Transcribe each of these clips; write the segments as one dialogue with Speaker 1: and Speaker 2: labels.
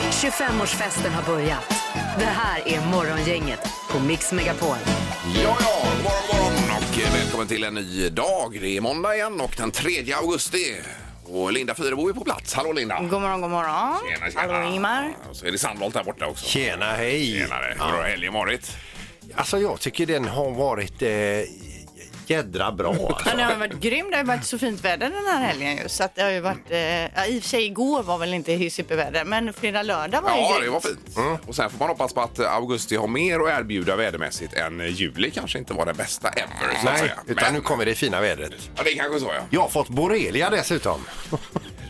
Speaker 1: 25-årsfesten har börjat. Det här är Morgongänget på Mix Megapol.
Speaker 2: Ja, ja, god morgon, god morgon och eh, välkommen till en ny dag. Det är måndag igen och den 3 augusti. Och Linda Fyrebo är på plats. Hallå Linda!
Speaker 3: God morgon, god morgon. Hallå Ingmar.
Speaker 2: Och så är det Sandholt där borta också.
Speaker 4: Tjena, hej!
Speaker 2: Tjenare! Hur har helgen varit?
Speaker 4: Alltså jag tycker den har varit eh, jädra bra.
Speaker 3: Ja,
Speaker 4: Alltså.
Speaker 3: det har varit grymt. Det har ju varit så fint väder den här helgen ju. Så att det har ju varit, eh, ja, i och för sig igår var väl inte hur superväder, men fredag, lördag var ju
Speaker 2: Ja, det
Speaker 3: grymt.
Speaker 2: var fint.
Speaker 4: Mm.
Speaker 2: Och sen får man hoppas på att augusti har mer att erbjuda vädermässigt än juli kanske inte var den bästa ever. så att
Speaker 4: Nej,
Speaker 2: säga.
Speaker 4: utan nu
Speaker 2: Men-
Speaker 4: kommer det fina vädret.
Speaker 2: Ja, det är kanske så ja.
Speaker 4: Jag har fått borrelia dessutom.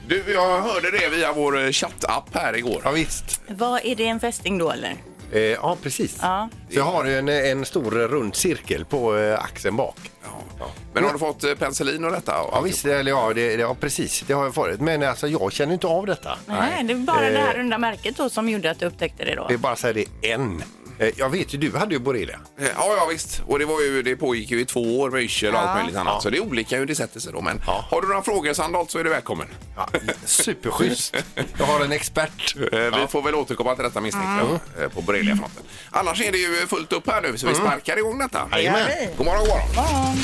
Speaker 2: Du, jag hörde det via vår eh, chattapp här igår.
Speaker 4: Ja, visst.
Speaker 3: Vad är det en fästing då eller?
Speaker 4: Eh, ja, precis.
Speaker 3: Ja.
Speaker 4: Så jag har en, eh, en stor rund cirkel på eh, axeln bak.
Speaker 2: Ja. Men har du fått eh, penicillin och detta?
Speaker 4: Ja, visst. Eller, ja, det, det- ja, precis. Det har jag förut. Men alltså, jag känner inte av detta.
Speaker 3: Nej, det var bara det här
Speaker 4: Eh,
Speaker 3: runda märket då som gjorde att du upptäckte det då.
Speaker 4: Det är bara så här, det är en. Eh, jag vet ju, du hade ju borrelia.
Speaker 2: Eh, Ja, ja visst. Och det, var ju, det pågick ju i två år med yrsel och
Speaker 3: Ja.
Speaker 2: allt möjligt annat.
Speaker 4: Ja.
Speaker 2: Så det är olika hur det sätter sig då. Men
Speaker 4: Ja.
Speaker 2: har du några frågor Sandholt så är du välkommen.
Speaker 4: Ja, superschysst. Jag har en expert.
Speaker 2: Eh, Vi får väl återkomma till detta misstänker jag, eh, på borreliafronten. Annars är det ju fullt upp här nu så vi sparkar igång detta.
Speaker 4: Jajamän.
Speaker 2: God morgon, god Mm. morgon.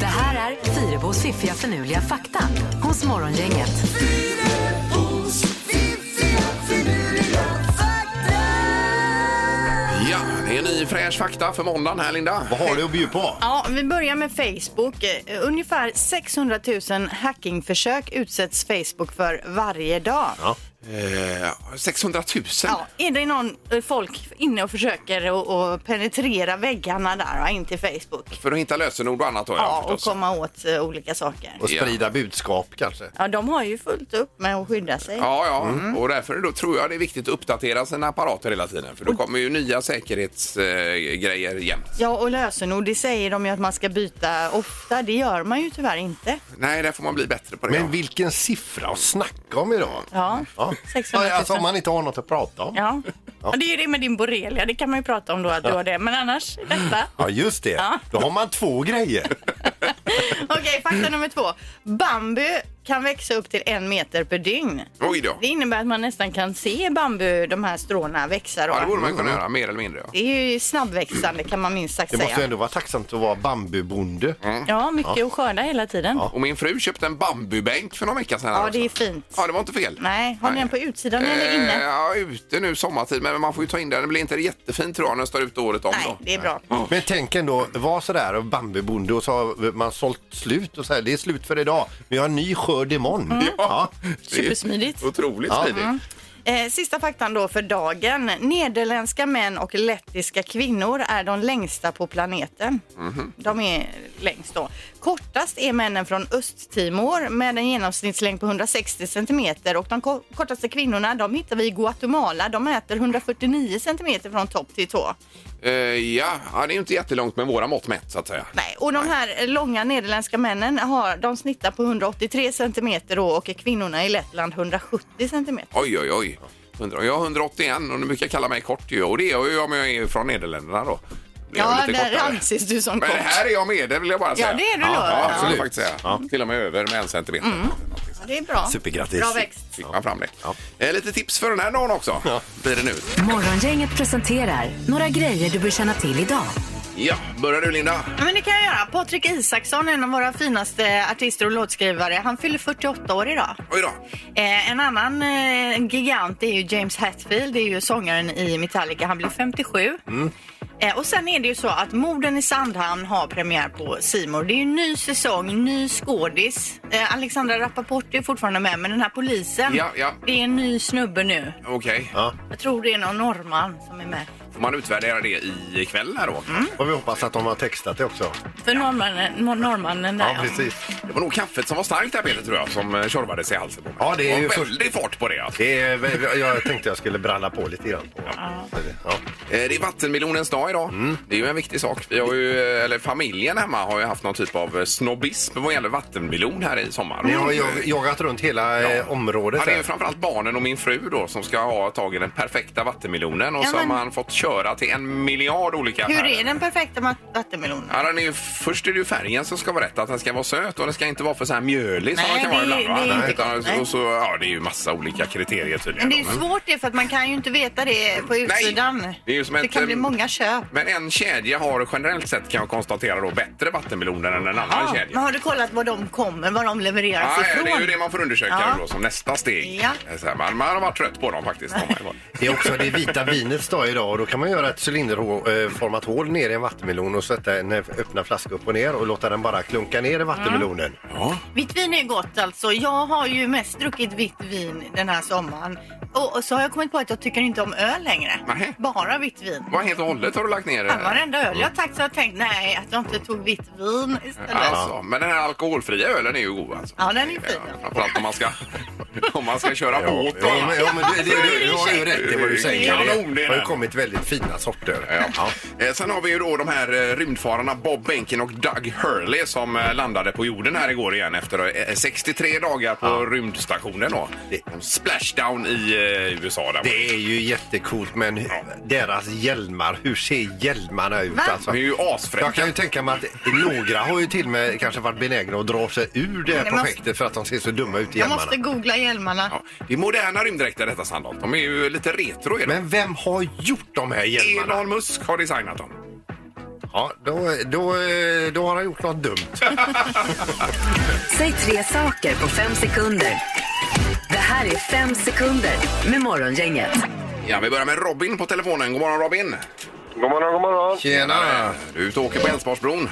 Speaker 1: Det här är Fyrabos fiffiga förnuliga fakta hos Morgongänget.
Speaker 2: Ja, det är en ny fräsch fakta för måndagen här Linda.
Speaker 4: Vad har du att bjuda på?
Speaker 3: Ja, vi börjar med Facebook. Eh, Ungefär 600 000 hackingförsök utsätts Facebook för varje dag.
Speaker 2: Eh, 600 000.
Speaker 3: Ja, är det någon eh, folk inne och försöker och, och penetrera väggarna där va, in till Facebook?
Speaker 2: För att hitta lösenord och annat då,
Speaker 3: Ja, och
Speaker 2: förstås.
Speaker 3: komma åt eh, olika saker.
Speaker 4: Och sprida budskap kanske?
Speaker 3: Ja, de har ju fullt upp med att skydda sig.
Speaker 2: Ja, ja. och därför då tror jag det är viktigt att uppdatera sina apparater hela tiden. För då kommer ju nya säkerhetsgrejer jämt.
Speaker 3: Ja, och lösenord, det säger de ju att man ska byta ofta. Det gör man ju tyvärr inte.
Speaker 2: Nej, där får man bli bättre på det.
Speaker 4: Men vilken siffra att snacka om idag!
Speaker 3: Ja, 600 000.
Speaker 4: Alltså om man inte har något att prata om.
Speaker 3: Ja. ja, det är ju det med din borrelia. Det kan man ju prata om då att du har det. Men annars, detta.
Speaker 4: Ja, just det. Då har man två grejer.
Speaker 3: Okej, fakta nummer två. Bambu kan växa upp till en meter per dygn.
Speaker 2: ja. Oj då.
Speaker 3: Det innebär att man nästan kan se bambu, de här stråna, växa. Då.
Speaker 2: Ja, det borde man kunna göra, mer eller mindre. Ja.
Speaker 3: Det är ju snabbväxande kan man minst sagt
Speaker 4: Det måste ju
Speaker 3: säga.
Speaker 4: ändå vara tacksamt att vara bambubonde.
Speaker 2: Mm.
Speaker 3: Ja, mycket att skörda hela tiden. Ja,
Speaker 2: Och min fru köpte en bambubänk för några veckor sedan. här också.
Speaker 3: det är fint.
Speaker 2: Ja, det var inte fel.
Speaker 3: Nej, har ni den på utsidan eller
Speaker 2: Eh,
Speaker 3: inne?
Speaker 2: Ja, ute nu sommartid, men man får ju ta in den. Den blir inte jättefin tror jag när den står ute året om.
Speaker 3: Nej,
Speaker 2: då.
Speaker 3: det är bra.
Speaker 4: Men tänk ändå, vara sådär och bambubonde och så har man sålt slut och så här, det är slut för idag, men jag har en ny skörd imorgon. Ja.
Speaker 2: Det är
Speaker 3: Supersmidigt.
Speaker 2: Otroligt
Speaker 4: Ja.
Speaker 2: smidigt.
Speaker 3: Eh, sista faktan då för dagen. Nederländska män och lettiska kvinnor är de längsta på planeten. De är längst då. Kortast är männen från Östtimor med en genomsnittslängd på 160 centimeter och de ko- kortaste kvinnorna de hittar vi i Guatemala. De mäter 149 centimeter från topp till tå.
Speaker 2: Eh, ja. ja, det är ju inte jättelångt med våra mått mätt så att säga.
Speaker 3: Nej, och de här eh, långa nederländska männen har, de snittar på 183 centimeter då, och kvinnorna i Lettland 170 centimeter.
Speaker 2: Oj, oj, oj. Hundra- Jag är 181 och nu brukar jag kalla mig kort ju. Och det är jag ju om jag är från Nederländerna då. Blir jag
Speaker 3: Ja,
Speaker 2: lite
Speaker 3: där
Speaker 2: kortare.
Speaker 3: anses du som
Speaker 2: Men
Speaker 3: kort.
Speaker 2: här är jag med, det vill jag bara säga.
Speaker 3: det är du
Speaker 2: ja,
Speaker 3: då. Mm.
Speaker 2: Ja,
Speaker 3: Ja.
Speaker 2: absolut. Jag faktiskt säga. Till och med över med en centimeter.
Speaker 3: Ja, Det är bra.
Speaker 4: Supergrattis.
Speaker 3: Bra växt.
Speaker 2: Fick man fram det. Eh, lite tips för den här dagen också. Blir det nu.
Speaker 1: Morgongänget presenterar några grejer du bör känna till idag.
Speaker 2: Ja, börjar du Linda?
Speaker 3: Ja, Men det kan jag göra. Patrik Isaksson, en av våra finaste artister och låtskrivare, han fyller 48 år idag.
Speaker 2: Oj då.
Speaker 3: Eh, en annan eh, gigant är ju James Hetfield, det är ju sångaren i Metallica. Han blir 57.
Speaker 2: Mm.
Speaker 3: Eh, och sen är det ju så att Morden i Sandhamn har premiär på Simor. Det är ju ny säsong, ny skådis. Eh, Alexandra Rapaport är fortfarande med, men den här polisen,
Speaker 2: Ja, ja.
Speaker 3: det är en ny snubbe nu.
Speaker 2: Okej.
Speaker 3: Jag tror det är någon norrman som är med.
Speaker 2: Får man utvärdera det i kväll här då?
Speaker 3: Mm.
Speaker 4: Och vi hoppas att de har textat det också.
Speaker 3: För norrmannen, norrmannen där
Speaker 4: Ja, precis.
Speaker 2: Det var nog kaffet som var starkt där Peter tror jag som eh, tjorvade sig i halsen på mig.
Speaker 4: Ja, det är ju
Speaker 2: var
Speaker 4: full-
Speaker 2: väldigt fart på det. Alltså.
Speaker 4: Det är, jag tänkte jag skulle bralla på lite grann. På. Ja.
Speaker 2: Eh, Det är vattenmelonens dag idag.
Speaker 4: Mm.
Speaker 2: Det är ju en viktig sak. Vi har ju, eh, eller familjen hemma har ju haft någon typ av eh, snobbism vad gäller vattenmelon här i sommar.
Speaker 4: Ni har jag, jagat runt hela eh, området.
Speaker 2: Ja, det är
Speaker 4: här.
Speaker 2: ju framförallt barnen och min fru då som ska ha tagit den perfekta vattenmelonen och
Speaker 3: Ja,
Speaker 2: så har
Speaker 3: men-
Speaker 2: man fått köra till en miljard olika
Speaker 3: Hur
Speaker 2: färger.
Speaker 3: är den perfekta mat- vattenmelonen?
Speaker 2: Ja, den är ju, först är det ju färgen som ska vara rätt, att den ska vara söt och den ska inte vara för så här mjölig som
Speaker 3: Nej,
Speaker 2: man kan vara
Speaker 3: det-
Speaker 2: ibland. va?
Speaker 3: det är inte
Speaker 2: Utan-
Speaker 3: gott, nej.
Speaker 2: och så, ja, det är ju massa olika kriterier tydligen.
Speaker 3: Men det är ju
Speaker 2: då,
Speaker 3: svårt det för att man kan ju inte veta det på utsidan.
Speaker 2: det är ju som ett,
Speaker 3: kan bli
Speaker 2: ehm,
Speaker 3: många köp.
Speaker 2: men en kedja har generellt sett kan jag konstatera då bättre vattenmeloner än en annan
Speaker 3: Ja, men
Speaker 2: kedja.
Speaker 3: har du kollat var de kommer, var de levereras
Speaker 2: Ja, ja,
Speaker 3: ifrån?
Speaker 2: det är ju det man får undersöka
Speaker 3: Ja.
Speaker 2: nu då, som nästa steg.
Speaker 3: Ja.
Speaker 2: Så här, man, man har varit trött på dem faktiskt. de här.
Speaker 4: Det är också det vita vinets dag idag och då kan man göra ett cylinderformat hål ner i en vattenmelon och sätta en eh, öppna flaska upp och ner och låta den bara klunka ner i vattenmelonen.
Speaker 2: Ja.
Speaker 3: Vitt vin är gott alltså. Jag har ju mest druckit vitt vin den här sommaren. Och, och så har jag kommit på att jag tycker inte om öl längre.
Speaker 2: Nej.
Speaker 3: Bara vitt vin.
Speaker 2: Vad helt och hållet har du lagt ner? eh,
Speaker 3: Fan, Varenda öl jag har tagit så har jag tänkt nej, att jag inte tog vitt vin istället.
Speaker 2: Alltså, men den här alkoholfria ölen är ju god alltså.
Speaker 3: Ja, den är fin.
Speaker 2: Framförallt om man ska, om man ska köra
Speaker 4: Ja,
Speaker 2: båt.
Speaker 4: ja, men, ja, men du, du, du, du har ju rätt i vad du säger.
Speaker 2: Kanon, det är
Speaker 4: har ju
Speaker 2: den.
Speaker 4: kommit väldigt fina sorter.
Speaker 2: Ja. Eh, Sen har vi ju då de här eh, rymdfararna Bob Behnken och Doug Hurley som eh, landade på jorden här igår igen efter eh, 63 dagar på rymdstationen då. En Splashdown i eh, USA där.
Speaker 4: Det är ju jättecoolt men hur- deras hjälmar, hur ser hjälmarna ut? alltså?
Speaker 3: Va?
Speaker 2: De är ju asfräcka.
Speaker 4: Jag kan ju tänka mig att några har ju till och med kanske varit benägna att dra sig ur det här
Speaker 3: Men måste-
Speaker 4: projektet för att de ser så dumma ut i
Speaker 3: jag
Speaker 4: hjälmarna.
Speaker 3: måste googla hjälmarna.
Speaker 2: Ja. Det är moderna rymddräkter detta Sandholt. De är ju lite retro i det.
Speaker 4: Men vem har gjort de här hjälmarna?
Speaker 2: Elon Musk har designat dem.
Speaker 4: Ja, då, då, eh, då har han gjort något dumt.
Speaker 1: Säg tre saker på fem sekunder. Det här är fem sekunder med Morgongänget.
Speaker 2: Ja, vi börjar med Robin på telefonen. God morgon Robin! Eh,
Speaker 5: God morgon, god morgon.
Speaker 4: Tjena!
Speaker 2: Du är ute och åker på Älvsborgsbron.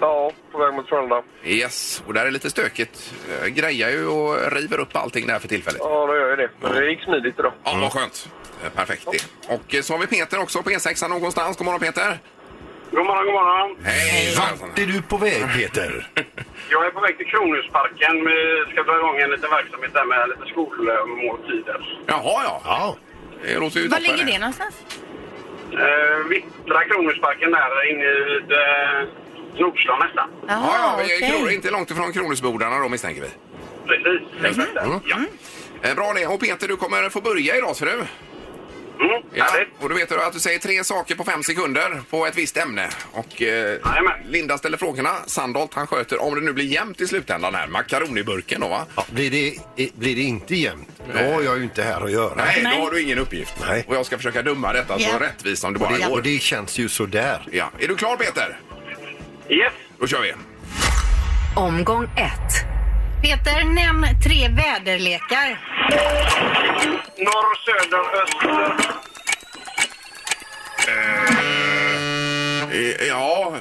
Speaker 5: Ja, på väg mot Frölunda.
Speaker 2: Yes, och där är lite stökigt. Eh, Grejar ju och river upp allting där för tillfället.
Speaker 5: Ja, då gör jag det. Men det gick smidigt idag.
Speaker 2: Ja, vad skönt. Eh, Perfekt det. Och eh, så har vi Peter också på E6 någonstans. God morgon Peter!
Speaker 6: God morgon, god morgon.
Speaker 2: Hej!
Speaker 4: Vart är du på väg Peter?
Speaker 6: Jag är på väg till Kronhusparken. Vi ska dra igång en liten verksamhet där med lite skolmåltider.
Speaker 2: Jaha ja,
Speaker 4: Ja,
Speaker 2: det låter ju
Speaker 3: Var
Speaker 2: toppen.
Speaker 3: ligger det någonstans?
Speaker 6: Eh, Vittra Kronhusparken där inne vid eh, Nordstan nästan.
Speaker 2: Ja, ja, vi är
Speaker 3: okej.
Speaker 2: kron- inte långt ifrån Kronhusbodarna då misstänker vi.
Speaker 6: Precis. Exakt där.
Speaker 2: Ja. Eh, Bra det. Och Peter, du kommer få börja idag ser du.
Speaker 6: Mm, härligt.
Speaker 2: Och då vet du att du säger tre saker på fem sekunder på ett visst ämne. Och eh,
Speaker 6: Jajamän.
Speaker 2: Linda ställer frågorna. Sandholt han sköter, om det nu blir jämnt i slutändan här, makaroniburken då va?
Speaker 4: ja blir, det, eh, blir det inte jämnt, då har jag ju inte här att göra.
Speaker 2: Nej,
Speaker 3: Nej.
Speaker 2: då har du ingen uppgift.
Speaker 4: Nej.
Speaker 2: Och jag ska försöka dumma detta
Speaker 3: Ja.
Speaker 2: så rättvist som det
Speaker 4: Och
Speaker 2: bara
Speaker 4: det,
Speaker 2: går.
Speaker 4: och det känns ju sådär.
Speaker 2: Ja. Är du klar Peter?
Speaker 6: Yes.
Speaker 2: Då kör vi.
Speaker 1: Omgång ett.
Speaker 3: Peter, nämn tre väderlekar.
Speaker 6: Norr, söder, öster.
Speaker 2: Eh, Ja,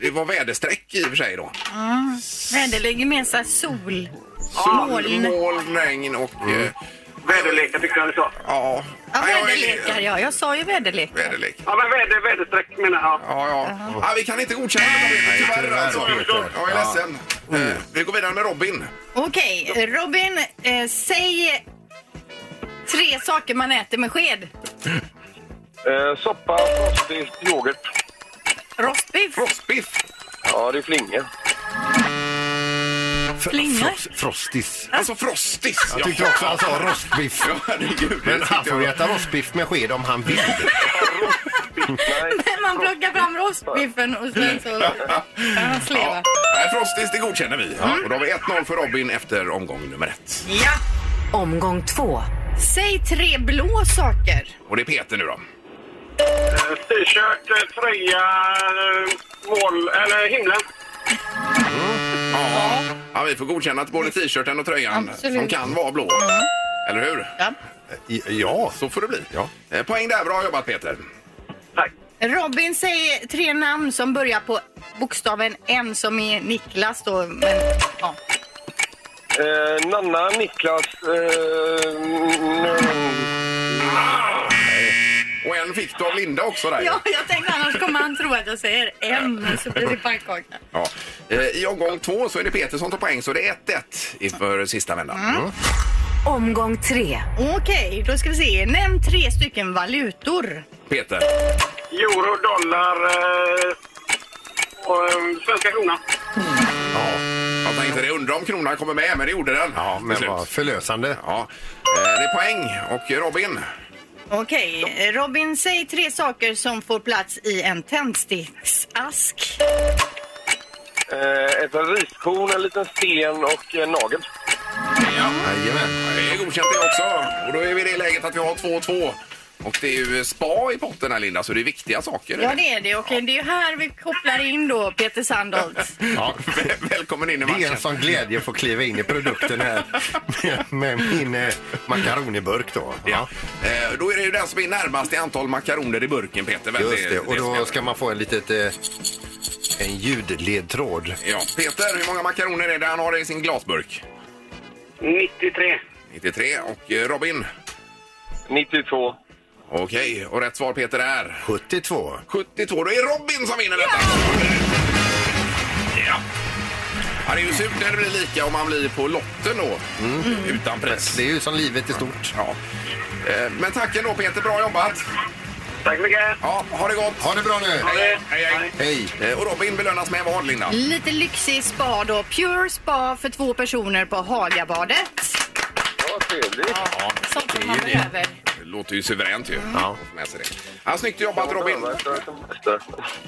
Speaker 2: det var väderstreck i och för sig då.
Speaker 3: Väderlek är mer så här sol. Moln.
Speaker 2: Moln, regn och... eh,
Speaker 6: Mm. Väderlekar tyckte jag du sa.
Speaker 2: Ja,
Speaker 3: Ja,
Speaker 2: Nej, jag är-
Speaker 3: väderlekar ja. Jag sa ju väderlekar.
Speaker 2: Väderlek.
Speaker 6: Ja, men väder, väderstreck menar jag.
Speaker 2: Ja, ja. ja, vi kan inte godkänna det Peter, tyvärr.
Speaker 4: tyvärr,
Speaker 2: alltså.
Speaker 4: Peter.
Speaker 2: Jag är
Speaker 4: Ja. Mm.
Speaker 2: ledsen. Eh, Vi går vidare med Robin.
Speaker 3: Okej, Robin, eh, säg tre saker man äter med sked.
Speaker 5: Eh, soppa, frostigt, yoghurt.
Speaker 3: Rostbiff,
Speaker 2: Frostbiff.
Speaker 5: Ja, det är flingor.
Speaker 4: F-
Speaker 3: Flingor?
Speaker 4: frost- Frostis.
Speaker 2: Alltså frostis.
Speaker 4: Jag tyckte också han sa rostbiff.
Speaker 2: Ja, herregud.
Speaker 4: Men
Speaker 2: Det
Speaker 4: han
Speaker 2: tyckte
Speaker 4: får ju
Speaker 2: jag-
Speaker 4: äta rostbiff med sked om han vill.
Speaker 5: Nej,
Speaker 3: man plockar fram rostbiffen och sen så Ja, Mm.
Speaker 2: Ja.
Speaker 3: sleva.
Speaker 2: Nej, Frostis, det godkänner vi. Och då har vi 1-0 för Robin efter omgång nummer ett.
Speaker 3: Ja.
Speaker 1: Omgång två.
Speaker 3: Säg tre blå saker.
Speaker 2: Och det är Peter nu då.
Speaker 6: Eh, T-shirt, eh, tröja, eh, mål, eller himlen.
Speaker 2: Ja. ja, vi får godkänna att både t-shirten och tröjan
Speaker 3: Absolut. Mm.
Speaker 2: som kan vara blå. Eller hur?
Speaker 3: Ja.
Speaker 4: Ja,
Speaker 2: Så får det bli. Eh, Poäng där. Bra jobbat Peter.
Speaker 6: Tack.
Speaker 3: Robin, säg tre namn som börjar på bokstaven N som är Niklas då. Men, ja.
Speaker 5: eh, Nanna, Niklas... Eh, mm,
Speaker 2: Och en fick du av Linda också där.
Speaker 3: ja, jag tänkte annars kommer han tro att jag säger M så blir det pannkaka.
Speaker 2: Ja. Eh, I omgång två så är det Peter som tar poäng så det är 1-1 inför sista vändan.
Speaker 4: Mm.
Speaker 2: Mm.
Speaker 1: Omgång tre.
Speaker 3: Okej, då ska vi se. Nämn tre stycken valutor.
Speaker 2: Peter.
Speaker 6: Euro, dollar eh, och eh, svenska kronan.
Speaker 2: Jag tänkte det undrar om kronan kommer med men det gjorde den.
Speaker 4: ja
Speaker 2: Till
Speaker 4: men
Speaker 2: slut.
Speaker 4: vad förlösande.
Speaker 2: Ja. Eh, Det är poäng och Robin.
Speaker 3: Okej, Robin, säg tre saker som får plats i en tändsticksask.
Speaker 5: Eh, ett riskorn, en liten sten och en nagel.
Speaker 2: Ja, Det är godkänt det också. Och då är vi i det läget att vi har 2-2. Och det är ju spa i potten här Linda, så det är viktiga saker.
Speaker 3: Ja, det är det. Och det är ju här vi kopplar in då Peter Sandholt.
Speaker 2: Ja. Väl- Välkommen in i
Speaker 4: Det är en
Speaker 2: matchen.
Speaker 4: sån glädje att få kliva in i produkten här med, med min eh, makaroniburk då.
Speaker 2: Ja. Eh, Då är det ju den som är närmast i antal makaroner i burken Peter. Väl,
Speaker 4: Just det, och
Speaker 2: som
Speaker 4: då
Speaker 2: gäller.
Speaker 4: ska man få en litet... Eh, en ljudledtråd.
Speaker 2: Ja. Peter, hur många makaroner är det han har i sin glasburk?
Speaker 6: 93.
Speaker 2: 93. Och eh, Robin?
Speaker 5: 92.
Speaker 2: Okej, och rätt svar Peter är?
Speaker 4: 72.
Speaker 2: 72. Då är Robin som vinner detta! Ja. Ja, det är ju surt när det blir lika om man blir på lotten då. Utan press.
Speaker 4: Det är ju som livet i stort.
Speaker 2: Ja. Eh, Men tack ändå Peter, bra jobbat!
Speaker 6: Tack så mycket.
Speaker 2: Ja, ha det gott!
Speaker 4: Ha det bra nu!
Speaker 2: Hej, hej, hej.
Speaker 4: Hej!
Speaker 2: Eh, Och Robin belönas med vad Linda?
Speaker 3: Lite lyxig spa då. Pure spa för två personer på Hagabadet.
Speaker 5: Ja, trevligt.
Speaker 3: Sånt som man behöver.
Speaker 2: Det låter ju suveränt ju.
Speaker 4: Ja.
Speaker 2: Med sig det. Ja, snyggt jobbat Robin!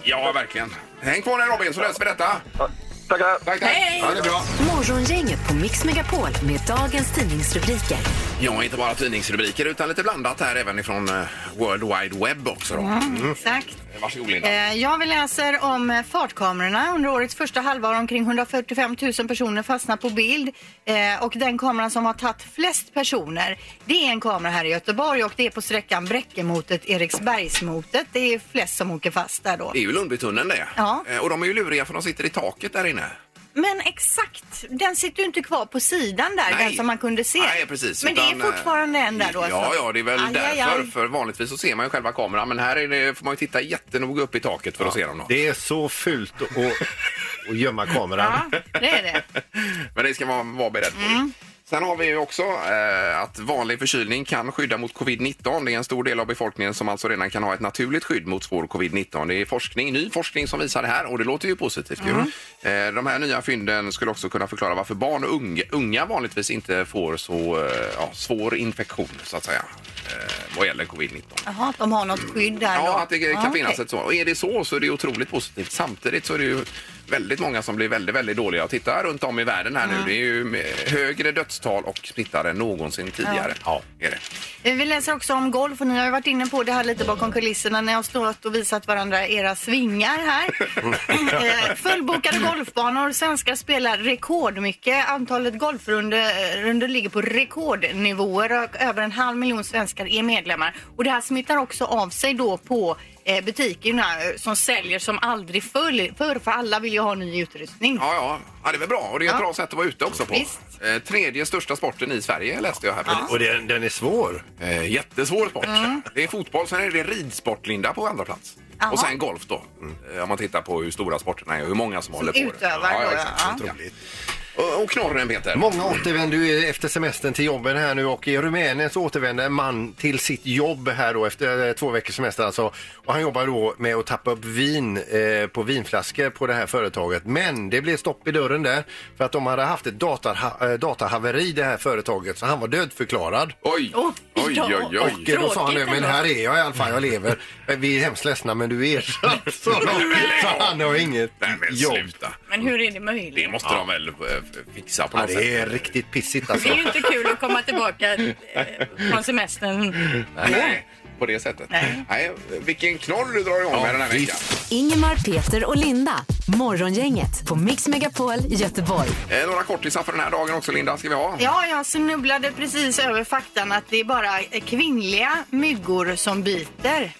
Speaker 2: Ja, verkligen. Häng kvar där Robin så löser vi detta.
Speaker 5: Ja, Tackar.
Speaker 2: Tack, tack.
Speaker 3: Hej!
Speaker 2: Ha det bra.
Speaker 1: Morgongänget på Mix Megapol med dagens tidningsrubriker.
Speaker 2: Ja, inte bara tidningsrubriker utan lite blandat här även ifrån eh, World Wide Web också då.
Speaker 3: Mm. Exakt.
Speaker 2: Varsågod Linda.
Speaker 3: Eh, Ja, vi läser om eh, fartkamerorna. Under årets första halvår har omkring 145 000 personer fastnat på bild. Eh, Och den kameran som har tagit flest personer, det är en kamera här i Göteborg och det är på sträckan Bräckemotet-Eriksbergsmotet. Det är flest som åker fast där då.
Speaker 2: Det är ju Lundbytunneln det.
Speaker 3: Ja.
Speaker 2: Eh, Och de är ju luriga för de sitter i taket där inne.
Speaker 3: Men exakt, den sitter ju inte kvar på sidan där,
Speaker 2: Nej.
Speaker 3: den som man kunde se.
Speaker 2: Nej, precis.
Speaker 3: Men det
Speaker 2: Utan,
Speaker 3: är
Speaker 2: eh,
Speaker 3: fortfarande en där då?
Speaker 2: Ja,
Speaker 3: alltså.
Speaker 2: ja, det är väl
Speaker 3: Aj, aj,
Speaker 2: därför.
Speaker 3: aj.
Speaker 2: För vanligtvis så ser man ju själva kameran, men här är det, får man ju titta jättenoga upp i taket för att se dem. Då.
Speaker 4: Det är så fult att, att gömma kameran.
Speaker 3: Ja, det är det.
Speaker 2: Men det ska man vara beredd på. Sen har vi ju också eh, att vanlig förkylning kan skydda mot covid-19. Det är en stor del av befolkningen som alltså redan kan ha ett naturligt skydd mot svår covid-19. Det är forskning, ny forskning som visar det här och det låter ju positivt. Ju. Eh, de här nya fynden skulle också kunna förklara varför barn och unga, unga vanligtvis inte får så eh, ja, svår infektion så att säga eh, vad gäller covid-19.
Speaker 3: Jaha, att de har något skydd där då?
Speaker 2: Ja, att det kan
Speaker 3: Ja,
Speaker 2: finnas
Speaker 3: okej.
Speaker 2: ett så. Och är det så så är det otroligt positivt. Samtidigt så är det ju väldigt många som blir väldigt, väldigt dåliga. Och Titta runt om i världen här nu. Det är ju högre dödstal och smittade än någonsin tidigare. Ja. Är det.
Speaker 3: Eh, Vi läser också om golf och ni har ju varit inne på det här lite bakom kulisserna. Ni har stått och visat varandra era svingar här. Eh, Fullbokade golfbanor. Svenskar spelar rekordmycket. Antalet golfrundor eh, ligger på rekordnivåer och över en halv miljon svenskar är medlemmar. Och det här smittar också av sig då på eh, butikerna eh, som säljer som aldrig förr, förr, för alla vill ju ha ny utrustning.
Speaker 2: Ja, ja. ja, det är väl bra. Och det är ett
Speaker 3: Ja.
Speaker 2: bra sätt att vara ute också på.
Speaker 3: Visst.
Speaker 2: Eh, tredje största sporten i Sverige läste jag här precis.
Speaker 4: Och den, den är svår.
Speaker 2: Eh, jättesvår sport. Det är fotboll, sen är det ridsport, Linda, på andra plats.
Speaker 3: Mm. Jaha.
Speaker 2: Och sen golf då. Eh, Om man tittar på hur stora sporterna är och hur många som, håller på. det.
Speaker 3: utövar
Speaker 2: ja,
Speaker 3: då,
Speaker 2: ja, exakt.
Speaker 3: ja.
Speaker 2: Otroligt. Och, och knorren, Peter.
Speaker 4: Många återvänder ju efter semestern till jobben här nu och i Rumänien så återvänder en man till sitt jobb här då efter eh, två veckors semester alltså. Och han jobbar då med att tappa upp vin eh, på vinflaskor på det här företaget. Men det blev stopp i dörren där för att de hade haft ett dataha- eh, datahaveri det här företaget så han var dödförklarad.
Speaker 2: Oj,
Speaker 3: Oj,
Speaker 2: oj,
Speaker 3: ja.
Speaker 2: oj. oj.
Speaker 4: Och eh, då sa han nu,
Speaker 3: Tråkigt
Speaker 4: men
Speaker 3: ändå."
Speaker 4: här är jag i alla fall, jag lever. Eh, Vi är hemskt ledsna men du är ersatt. Så, så han har inget
Speaker 2: Nej men
Speaker 4: jobb.
Speaker 2: sluta.
Speaker 3: Men hur är det möjligt?
Speaker 2: Det måste de väl eh, f- fixa på
Speaker 4: Ja,
Speaker 2: något sätt.
Speaker 4: det är riktigt pissigt alltså.
Speaker 3: Det är ju inte kul att komma tillbaka eh, från semestern.
Speaker 2: Nej, på det sättet. Nej.
Speaker 3: Nej.
Speaker 2: vilken knorr du drar igång med den här veckan.
Speaker 1: Ingemar, Peter och Linda. Morgongänget på Mix Megapol i Göteborg.
Speaker 2: Eh, några kortisar för den här dagen också Linda, ska vi ha?
Speaker 3: Ja, jag snubblade precis över faktan att det är bara kvinnliga myggor som biter.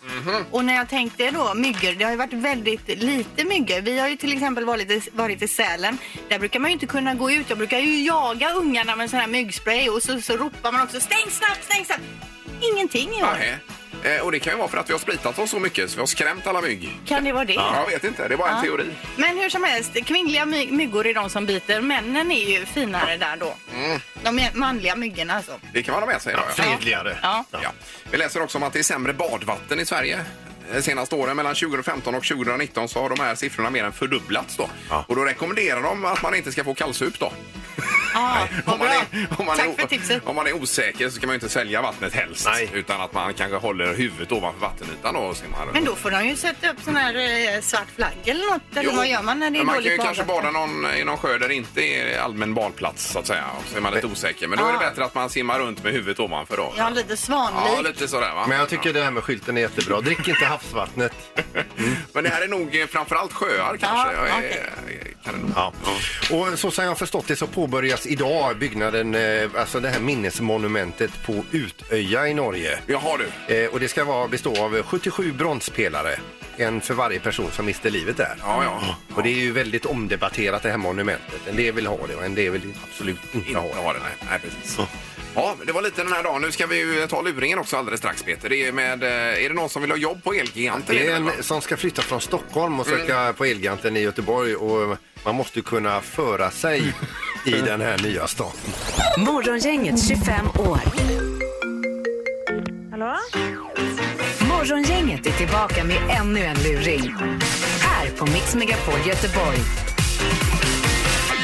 Speaker 3: Och när jag tänkte då myggor, det har ju varit väldigt lite myggor. Vi har ju till exempel varit i, varit i Sälen. Där brukar man ju inte kunna gå ut. Jag brukar ju jaga ungarna med sån här myggspray och så, så ropar man också stäng snabbt, stäng snabbt. Ingenting i år.
Speaker 2: Nej. Eh, och det kan ju vara för att vi har spritat oss så mycket så vi har skrämt alla mygg.
Speaker 3: Kan det vara det?
Speaker 2: Jag vet inte, det är bara en
Speaker 3: Ja.
Speaker 2: teori.
Speaker 3: Men hur som helst, kvinnliga my- myggor är de som biter. Männen är ju finare där då. De är manliga myggorna alltså.
Speaker 2: Det kan man ha med sig. då, ja.
Speaker 4: Fredligare.
Speaker 3: Ja.
Speaker 2: Ja. Vi läser också om att det är sämre badvatten i Sverige. Eh, Senaste åren, mellan 2015 och 2019, så har de här siffrorna mer än fördubblats. Då.
Speaker 4: Ja.
Speaker 2: Och då rekommenderar de att man inte ska få kallsup. Då.
Speaker 3: Ja,
Speaker 2: Nej,
Speaker 3: Ah, vad
Speaker 2: om, man
Speaker 3: bra.
Speaker 2: är, om, man
Speaker 3: Tack
Speaker 2: är, o-
Speaker 3: för tipset.
Speaker 2: om man är osäker så kan man ju inte sälja vattnet helst.
Speaker 7: Nej.
Speaker 2: Utan att man kanske håller huvudet ovanför vattenytan. Då, och simmar.
Speaker 3: Men då får de ju sätta upp sån här eh, svart flagg eller något. Eller
Speaker 2: Jo,
Speaker 3: vad gör man när det är
Speaker 2: men man kan ju
Speaker 3: dåligt
Speaker 2: kanske bada
Speaker 3: badvatten?
Speaker 2: någon, i någon sjö där det inte är allmän badplats så att säga. Och så är man lite osäker. Men då är det
Speaker 3: Ah.
Speaker 2: bättre att man simmar runt med huvudet ovanför då.
Speaker 3: Ja, lite
Speaker 2: Ja,
Speaker 3: svanlik.
Speaker 2: lite sådär va.
Speaker 7: Men jag tycker det här med skylten är jättebra. Drick inte havsvattnet.
Speaker 2: Men det här är nog eh, framförallt sjöar kanske. Jag
Speaker 3: Ja,
Speaker 2: är-
Speaker 3: okej.
Speaker 2: jag kan det nog.
Speaker 7: Ja. Och så som jag har förstått det så påbörjas idag byggnaden, eh, alltså det här minnesmonumentet på Utöja i Norge.
Speaker 2: Jaha du.
Speaker 7: Eh, Och det ska vara, bestå av 77 bronspelare. En för varje person som miste livet där.
Speaker 2: Ja, ja.
Speaker 7: Och det är ju väldigt omdebatterat det här monumentet. En del vill ha det och en del vill absolut inte
Speaker 2: Inte
Speaker 7: ha det.
Speaker 2: har den, nej. nej precis. Ja, men det var lite den här dagen. Nu ska vi ju ta luringen också alldeles strax Peter. Det är, med, eh, är det någon som vill ha jobb på Elgiganten?
Speaker 7: Det Mm. är
Speaker 2: väl, va?
Speaker 7: en som ska flytta från Stockholm och söka på Elgiganten i Göteborg och man måste ju kunna föra sig i den här nya stan.
Speaker 1: Morgongänget 25 år.
Speaker 8: Hallå?
Speaker 1: Morgongänget är tillbaka med ännu en luring. Här på Mix Megapol Göteborg.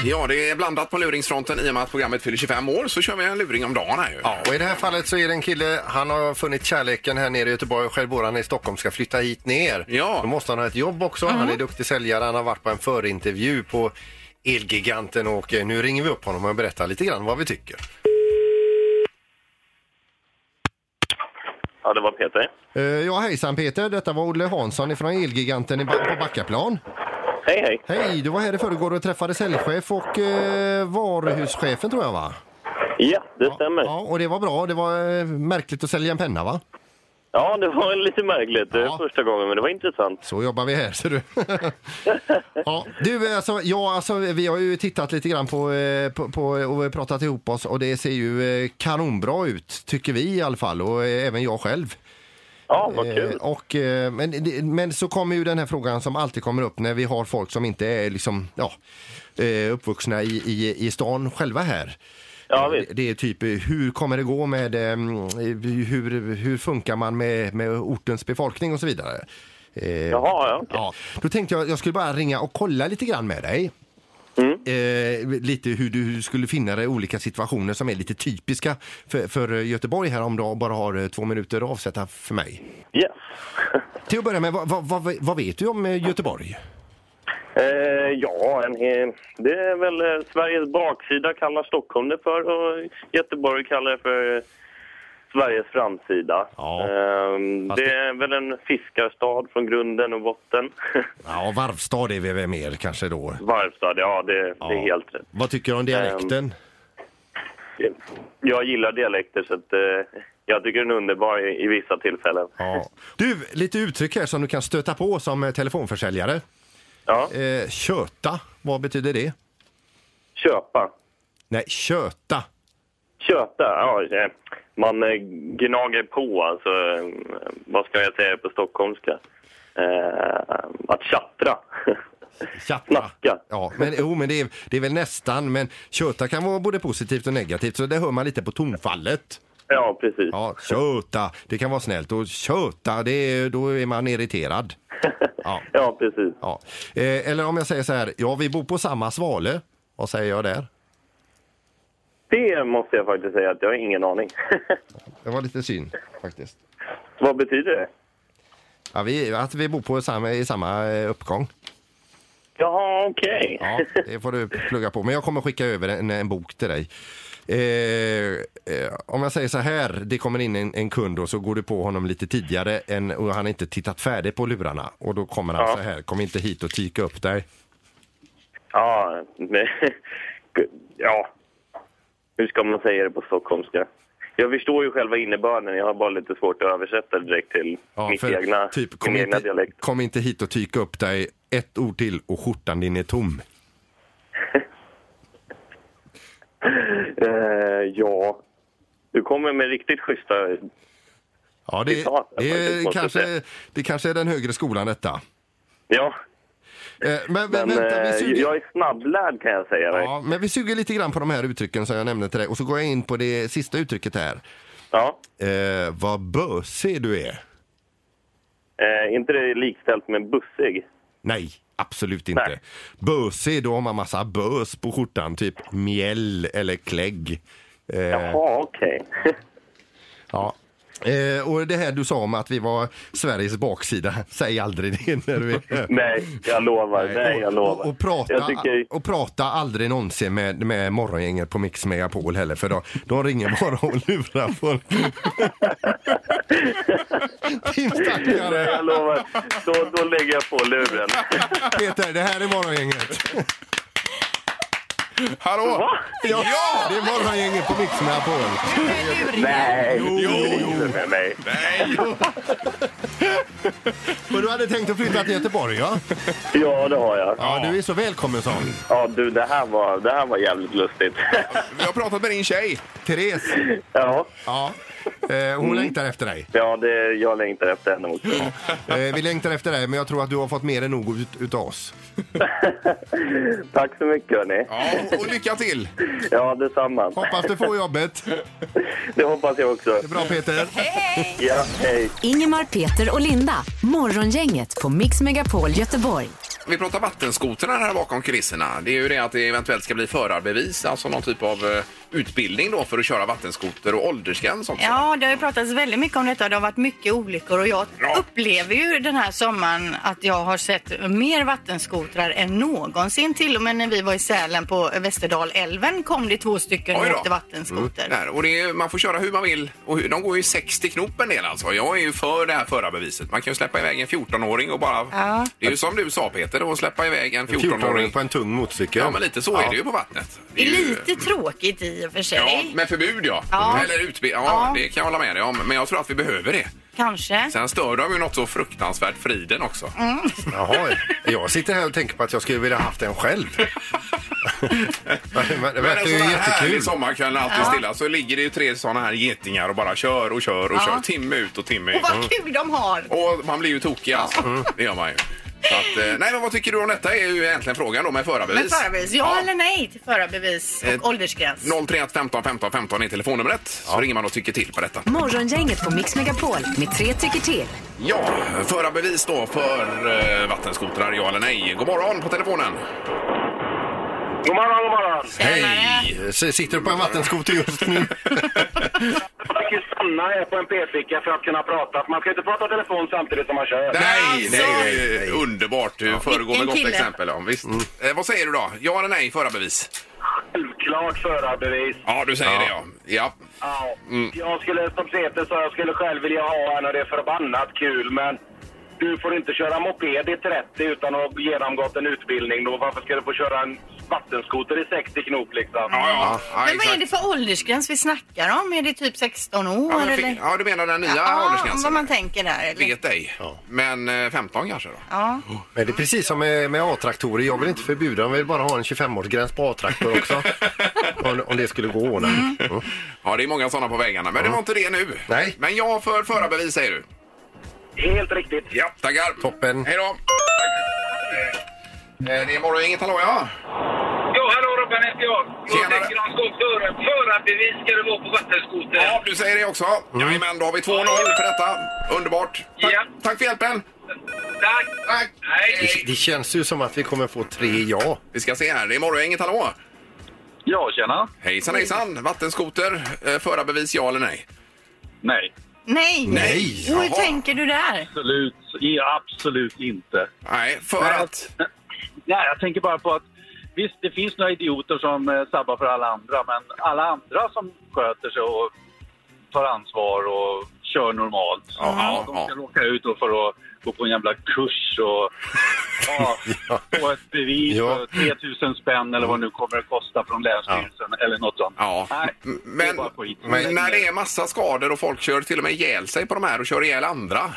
Speaker 2: Ja, det är blandat på luringsfronten. I och med att programmet fyller 25 år så kör vi en luring om dagen här ju.
Speaker 7: Ja, och i det här fallet så är det en kille, han har funnit kärleken här nere i Göteborg och själv bor han i Stockholm, ska flytta hit ner.
Speaker 2: Ja.
Speaker 7: Då måste han ha ett jobb också, han är duktig säljare, han har varit på en förintervju på Elgiganten och eh, nu ringer vi upp honom och berättar lite grann vad vi tycker.
Speaker 5: Ja, det var Peter.
Speaker 4: Eh, Ja, hejsan Peter. Detta var Olle Hansson från Elgiganten i ba- på Backaplan.
Speaker 5: Hej, hej.
Speaker 4: Hej, du var här i förrgår och träffade säljchef och eh, varuhuschefen tror jag va?
Speaker 5: Ja, det stämmer.
Speaker 4: Ja, och det var bra. Det var eh, märkligt att sälja en penna va?
Speaker 5: Ja, det var lite märkligt eh,
Speaker 4: Ja.
Speaker 5: första gången, men det var intressant.
Speaker 4: Så jobbar vi här ser du. ja, du, alltså, ja, alltså, vi har ju tittat lite grann på, eh, på, på och pratat ihop oss och det ser ju eh, kanonbra ut, tycker vi i alla fall och eh, även jag själv.
Speaker 5: Ja,
Speaker 4: Eh, Och, eh, men, det- men så kommer ju den här frågan som alltid kommer upp när vi har folk som inte är liksom, ja, eh, uppvuxna i, i, i stan själva här.
Speaker 5: Ja,
Speaker 4: Eh,
Speaker 5: visst.
Speaker 4: det, det är typ eh, hur kommer det gå med, eh, hur, hur funkar man med, med ortens befolkning och så vidare. Eh,
Speaker 5: Jaha, ja.
Speaker 4: Ja, då tänkte jag jag skulle bara ringa och kolla lite grann med dig.
Speaker 5: Mm.
Speaker 4: Eh, lite hur du skulle finna dig i olika situationer som är lite typiska för, för Göteborg här om du bara har eh, två minuter att avsätta för mig.
Speaker 5: Yes.
Speaker 4: Till att börja med, vad, vad, vad, vad vet du om eh, Göteborg?
Speaker 5: Eh, ja, en, eh, det är väl eh, Sveriges baksida kallar Stockholm det för och Göteborg kallar det för eh, Sveriges framsida.
Speaker 4: Ja.
Speaker 5: Ehm,
Speaker 4: Fast
Speaker 5: det är väl en fiskarstad från grunden och botten.
Speaker 4: Ja, varvstad är vi väl mer kanske då.
Speaker 5: Varvstad, ja det, det är
Speaker 4: Ja.
Speaker 5: helt rätt. Ehm.
Speaker 4: Vad tycker du om dialekten?
Speaker 5: Jag gillar dialekter så att, eh, jag tycker den är underbar i, i vissa tillfällen.
Speaker 4: Ja. Du, lite uttryck här som du kan stöta på som eh, telefonförsäljare.
Speaker 5: Ja,
Speaker 4: Eh, köta, vad betyder det?
Speaker 5: köpa.
Speaker 4: Nej, köta.
Speaker 5: Köta, ja. eh, Man eh, gnager på, alltså. eh, Vad ska jag säga på stockholmska? Eh, att tjattra.
Speaker 4: Tjattra.
Speaker 5: Snacka.
Speaker 4: Ja, men, jo, men det, är, det är väl nästan, men köta kan vara både positivt och negativt så det hör man lite på tonfallet.
Speaker 5: Ja, precis.
Speaker 4: Ja, köta, det kan vara snällt och köta, det är, då är man irriterad. Ja,
Speaker 5: Ja, precis.
Speaker 4: ja. Eh, eller om jag säger så här, ja vi bor på samma svale, vad säger jag där?
Speaker 5: Det måste jag faktiskt säga att jag har ingen aning.
Speaker 4: Det var lite synd faktiskt.
Speaker 5: Vad betyder det?
Speaker 4: Ja, vi, att vi bor på samma, i samma eh, uppgång.
Speaker 5: Jaha, okej.
Speaker 4: Ja, det får du plugga på. Men jag kommer skicka över en, en bok till dig. Eh, eh, om jag säger så här, det kommer in en, en kund och så går du på honom lite tidigare än, och han har inte tittat färdigt på lurarna. Och då kommer han
Speaker 5: Ja.
Speaker 4: så här, kom inte hit och tika upp dig.
Speaker 5: Ja. men- ja. Hur ska man säga det på stockholmska? Jag förstår ju själva innebörden, jag har bara lite svårt att översätta det direkt till
Speaker 4: Ja,
Speaker 5: mitt
Speaker 4: för
Speaker 5: egna,
Speaker 4: typ,
Speaker 5: min
Speaker 4: kom,
Speaker 5: egna
Speaker 4: inte,
Speaker 5: dialekt.
Speaker 4: kom inte hit och tika upp dig, ett ord till och skjortan din är tom.
Speaker 5: Eh, ja. Du kommer med riktigt schyssta...
Speaker 4: Ja, det,
Speaker 5: Citat,
Speaker 4: det,
Speaker 5: jag
Speaker 4: är,
Speaker 5: måste säga.
Speaker 4: kanske, det kanske är den högre skolan detta.
Speaker 5: Ja,
Speaker 4: Eh, men,
Speaker 5: men
Speaker 4: men vänta, vi
Speaker 5: eh,
Speaker 4: suger...
Speaker 5: jag är snabblärd kan jag säga dig. Ja.
Speaker 4: Ja, men vi suger lite grann på de här uttrycken som jag nämnde till dig och så går jag in på det sista uttrycket här. Eh, vad bösig du är.
Speaker 5: Eh, inte det likställt med bussig?
Speaker 9: Nej, absolut inte.
Speaker 5: Nej.
Speaker 9: Bösig, då har man massa bös på skjortan, typ mjäll eller klägg. Eh,
Speaker 5: Jaha, okej.
Speaker 9: ja. eh, och det här du sa om att vi var Sveriges baksida, säg aldrig det när du är
Speaker 5: Nej, jag lovar. Nej, jag
Speaker 9: och,
Speaker 5: lovar.
Speaker 9: och, och, prata,
Speaker 5: Jag tycker,
Speaker 9: och prata aldrig någonsin med, med morgongänget på Mix Megapol heller, för de, de ringer bara och lurar folk. Din
Speaker 5: nej,
Speaker 9: stackare!
Speaker 5: jag lovar. Då, då lägger jag på luren.
Speaker 9: Peter, det här är morgongänget.
Speaker 2: Hallå?
Speaker 5: Va?
Speaker 9: Ja, det är morgongänget på Mix Megapol.
Speaker 5: Nej,
Speaker 2: Jo, jo.
Speaker 5: med mig.
Speaker 2: Nej,
Speaker 9: Och du hade tänkt att flytta till Göteborg, ja?
Speaker 5: Ja, det har jag.
Speaker 9: Ja, du är så välkommen som.
Speaker 5: Ja, du, det här var, det här var jävligt lustigt.
Speaker 2: vi har pratat med din tjej.
Speaker 9: Therese,
Speaker 5: Ja,
Speaker 9: ja. Eh,
Speaker 5: Mm.
Speaker 9: hon längtar efter dig.
Speaker 5: ja det, jag längtar efter henne också.
Speaker 9: Eh, vi längtar efter dig, men jag tror att du har fått mer än nog ut, utav oss.
Speaker 5: Tack så mycket, hörni.
Speaker 2: Ja, och lycka till.
Speaker 5: Ja, detsamma.
Speaker 9: Hoppas du får jobbet.
Speaker 5: Det hoppas jag också.
Speaker 9: Bra Peter.
Speaker 5: Ja, hej.
Speaker 1: Ingemar, Peter och Linda. Morgongänget på Mix Megapol Göteborg.
Speaker 2: Vi pratar vattenskotrarna här bakom kulisserna. Det är ju det att det eventuellt ska bli förarbevis, alltså någon typ av eh, utbildning då för att köra vattenskoter och åldersgräns också.
Speaker 3: Ja, det har ju pratats väldigt mycket om detta och det har varit mycket olyckor och jag
Speaker 2: Ja.
Speaker 3: upplever ju den här sommaren att jag har sett mer vattenskotrar än någonsin. Till och med när vi var i Sälen på Västerdalälven kom det två stycken och
Speaker 2: Oj då. Mm.
Speaker 3: åkte vattenskoter.
Speaker 2: Där. Och det är, man får köra hur man vill. Och hur- de går ju 60 knop en del alltså. Jag är ju för det här förarbeviset. Man kan ju släppa iväg en 14-åring och bara...
Speaker 3: Ja.
Speaker 2: Det är ju som du sa Peter, att släppa iväg en
Speaker 4: 14
Speaker 2: 14-åring.
Speaker 4: på en tung motorcykel.
Speaker 2: Ja, men lite så är det ju på vattnet.
Speaker 3: Det är
Speaker 2: ju-
Speaker 3: lite tråkigt i och för
Speaker 2: Ja,
Speaker 3: sig,
Speaker 2: med förbud ja.
Speaker 3: Ja.
Speaker 2: Eller utbildning. Ja,
Speaker 3: Ja.
Speaker 2: det kan jag hålla med dig om. Men jag tror att vi behöver det.
Speaker 3: kanske.
Speaker 2: Sen stör de ju något så fruktansvärt friden också.
Speaker 3: Mm.
Speaker 4: Jaha, jag sitter här och tänker på att jag skulle vilja haft en själv. Men det
Speaker 2: Men
Speaker 4: verkar
Speaker 2: en
Speaker 4: ju
Speaker 2: sån här härlig
Speaker 4: jättekul.
Speaker 2: sommarkväll när allt är stilla så ligger det ju tre såna här getingar och bara kör och kör och
Speaker 3: Ja.
Speaker 2: kör. Timme ut och timme in.
Speaker 3: Och vad kul de har!
Speaker 2: Och man blir ju tokig alltså. Det gör man ju. Så att, eh, nej, men vad tycker du om detta är ju egentligen frågan då med förarbevis.
Speaker 3: Men förarbevis, ja, eller nej till förarbevis och
Speaker 2: Eh,
Speaker 3: åldersgräns?
Speaker 2: 031 15 15 15 är telefonnumret. Så ringer man och tycker till på detta.
Speaker 1: Morgongänget på Mix Megapol med tre tycker till.
Speaker 2: Ja, förarbevis då för eh, vattenskotrar, ja eller nej. God morgon på telefonen.
Speaker 6: God morgon, god morgon.
Speaker 2: Hej!
Speaker 4: S- Sitter du på en vattenskoter just nu?
Speaker 6: Man kan ju stanna här på en p-ficka för att kunna prata. Man ska inte prata i telefon samtidigt som man kör.
Speaker 2: Nej,
Speaker 3: Alltså.
Speaker 2: nej, nej, nej, underbart. Du föregår med
Speaker 3: Vilken
Speaker 2: gott
Speaker 3: kille.
Speaker 2: exempel. Ja, visst. Eh, vad säger du då? Ja eller nej, förarbevis?
Speaker 6: Självklart förarbevis.
Speaker 2: Ja, du säger det ja. ja.
Speaker 6: Ja.
Speaker 10: Mm.
Speaker 6: Jag skulle, som Peter sa, jag skulle själv vilja ha en och det är förbannat kul, men du får inte köra moped i 30 utan att ha genomgått en utbildning. Då varför ska du få köra en vattenskoter i 60 knop liksom?
Speaker 2: Ja, ja. ja
Speaker 3: Men vad är det
Speaker 2: exakt.
Speaker 3: för åldersgräns vi snackar om? Är det typ 16 år
Speaker 2: Ja, men
Speaker 3: eller?
Speaker 2: fi- ja, du menar den nya åldersgränsen?
Speaker 3: vad man tänker där. Eller?
Speaker 2: Vet ej. Men eh, 15 kanske då?
Speaker 3: Ja.
Speaker 4: Men det är precis som med, med A-traktorer. Jag vill inte förbjuda dem. Jag vill bara ha en 25-årsgräns på A-traktor också. om, om det skulle gå att ordna. Mm.
Speaker 2: Ja, det är många sådana på vägarna. Men det var inte det nu.
Speaker 4: Nej.
Speaker 2: Men ja för förarbevis säger du.
Speaker 6: Helt riktigt.
Speaker 2: Ja, tackar.
Speaker 4: Toppen.
Speaker 2: Hej då. Tack. Eh, Det är morgongänget, hallå ja.
Speaker 6: Jo, hallå Robban heter jag.
Speaker 2: Jag Tjenare. tänker
Speaker 6: om skotören. Förarbevis ska det vara på vattenskoter.
Speaker 2: Ja, Mm. du säger det också. Jajamän, då har vi 2-0 för detta. Underbart. Tack,
Speaker 6: Ja.
Speaker 2: tack för hjälpen.
Speaker 6: Tack!
Speaker 2: Tack.
Speaker 4: Det, det känns ju som att vi kommer få tre ja.
Speaker 2: Vi ska se här. Det är morgongänget, hallå.
Speaker 10: Ja, tjena.
Speaker 2: Hejsan hejsan. Vattenskoter, eh, förarbevis ja eller nej?
Speaker 10: Nej,
Speaker 3: Nej.
Speaker 2: Nej.
Speaker 3: Hur
Speaker 2: Jaha.
Speaker 3: tänker du där?
Speaker 10: absolut, ja, absolut inte.
Speaker 2: Nej, för
Speaker 10: Nej.
Speaker 2: att...
Speaker 10: Nej, jag tänker bara på att visst, det finns några idioter som eh, sabbar för alla andra, men alla andra som sköter sig och tar ansvar och kör normalt.
Speaker 2: Ja,
Speaker 10: de
Speaker 2: ja.
Speaker 10: ska råka ut då för att gå på en jävla kurs och ja, få ett bevis
Speaker 4: Ja.
Speaker 10: för 3000 spänn eller vad nu kommer att kosta från Länsstyrelsen eller något sånt.
Speaker 2: Ja,
Speaker 10: Nej,
Speaker 2: m-
Speaker 10: det är
Speaker 2: men,
Speaker 10: bara skit.
Speaker 2: men när det är massa skador och folk kör till och med ihjäl sig på de här och kör ihjäl andra.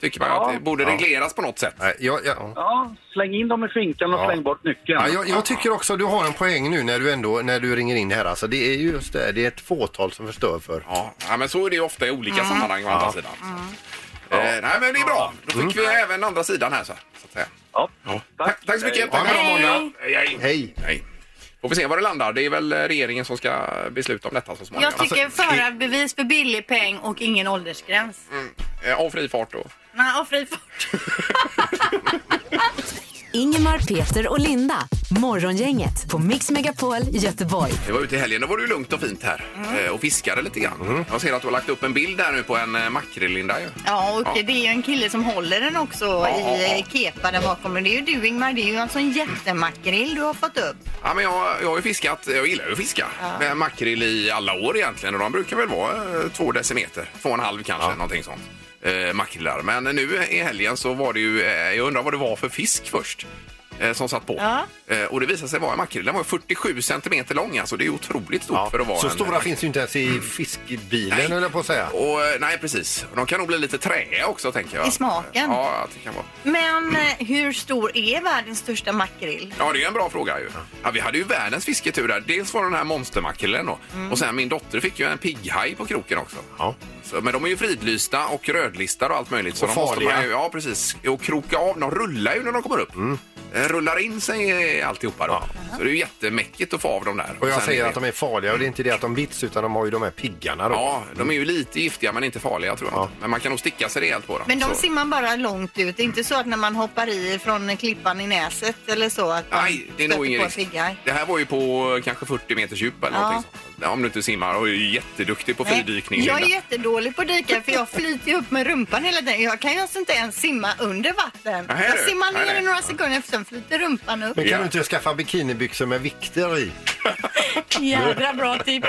Speaker 2: Tycker man
Speaker 10: Ja.
Speaker 2: att det borde regleras på något sätt.
Speaker 4: Nej, jag, jag,
Speaker 10: Ja, släng in dem i finkan och
Speaker 4: Ja.
Speaker 10: släng bort nyckeln.
Speaker 4: Ja, jag, jag tycker också att du har en poäng nu när du ändå när du ringer in det här. Alltså, det är ju just det, här, det är ett fåtal som förstör för.
Speaker 2: Ja, ja, men så är det ju ofta i olika
Speaker 10: Mm.
Speaker 2: sammanhang å andra sidan. Eh, nej, men det är bra. Då fick vi även andra sidan här så, här, så att säga.
Speaker 10: Mm. Ja.
Speaker 2: Tack, tack så mycket.
Speaker 4: Ha
Speaker 2: Tack
Speaker 4: en bra
Speaker 2: för
Speaker 4: måndag.
Speaker 2: Hej.
Speaker 4: Hej!
Speaker 2: Hej. Får vi se var det landar. Det är väl regeringen som ska besluta om detta så småningom.
Speaker 3: Jag tycker förarbevis för billig peng och ingen
Speaker 2: Mm. Alltså,
Speaker 3: åldersgräns.
Speaker 2: Eh, Och fri fart då.
Speaker 3: Nej, och fri fart.
Speaker 1: Ingemar, Peter och Linda. Morgongänget på Mix Megapol Göteborg.
Speaker 2: Det var ute i helgen, då var det ju lugnt och fint här
Speaker 10: Mm.
Speaker 2: eh, och fiskade lite grann. Jag ser att du har lagt upp en bild där nu på en eh, makrill, Linda. Ju.
Speaker 3: Ja, och det är ju en kille som håller den också i eh, kepa där bakom. Och det är ju du Ingmar, det är ju alltså en jättemakrill du har fått upp.
Speaker 2: Ja, men jag, jag har ju fiskat, jag gillar ju att fiska med makrill i alla år egentligen och de brukar väl vara eh, två decimeter, två och en halv kanske, någonting sånt. Eh, makrillar. Men nu i helgen så var det ju, eh, jag undrar vad det var för fisk först eh, som satt på.
Speaker 3: Ja.
Speaker 2: Eh, och det visade sig vara en makrill. Den var 47 centimeter lång alltså, det är ju otroligt stort
Speaker 4: Ja,
Speaker 2: för att vara
Speaker 4: så
Speaker 2: en
Speaker 4: stora
Speaker 2: makrill.
Speaker 4: finns ju inte ens i fiskbilen
Speaker 2: Nej.
Speaker 4: höll jag på att säga.
Speaker 2: Och, eh, nej, precis. De kan nog bli lite träiga också, tänker jag.
Speaker 3: I smaken.
Speaker 2: Ja, att det kan vara.
Speaker 3: Men eh, hur stor är världens största makrill?
Speaker 2: Ja, det är en bra fråga ju. Ja, vi hade ju världens fisketur där. Dels var det den här monstermakrillen då. Och sen min dotter fick ju en pigghaj på kroken också.
Speaker 4: Mm. Ja.
Speaker 2: Så, men de är ju fridlysta och rödlistade och allt möjligt. Så
Speaker 4: Och
Speaker 2: de måste
Speaker 4: farliga.
Speaker 2: man ju, ja, precis. Och kroka av. De rullar ju när de kommer upp.
Speaker 4: Mm.
Speaker 2: Eh, Rullar in sig eh, alltihopa då. Så det är ju jättemäckigt att få av dem där.
Speaker 4: Och jag
Speaker 2: sen
Speaker 4: säger
Speaker 2: är
Speaker 4: att de är farliga och det är inte det att de bits utan de har ju de här piggarna då.
Speaker 2: Ja, de är ju lite giftiga men inte farliga tror jag.
Speaker 4: Ja.
Speaker 2: Men man kan nog sticka sig rejält på dem.
Speaker 3: Men de
Speaker 2: Så-
Speaker 3: simmar bara långt ut. Det är inte så att när man hoppar i från klippan i näset eller så att man
Speaker 2: Nej, det är nog
Speaker 3: stöter
Speaker 2: ingen
Speaker 3: på
Speaker 2: risk.
Speaker 3: piggar.
Speaker 2: Det här var ju på eh, kanske 40 meters djup eller
Speaker 3: Ja.
Speaker 2: någonting sånt. Ja, Om du inte simmar och är ju jätteduktig på
Speaker 3: Nej,
Speaker 2: fridykning.
Speaker 3: Jag är
Speaker 2: Linda.
Speaker 3: jättedålig på att dyka för jag flyter ju upp med rumpan hela tiden. Jag kan ju alltså inte ens simma under vatten.
Speaker 2: Nej,
Speaker 3: jag
Speaker 2: du.
Speaker 3: simmar
Speaker 2: Nej,
Speaker 3: ner
Speaker 2: nej.
Speaker 3: i några sekunder och sen flyter rumpan upp.
Speaker 4: Men kan
Speaker 2: Ja.
Speaker 4: du inte skaffa bikinibyxor med vikter i?
Speaker 3: Jädra bra tips.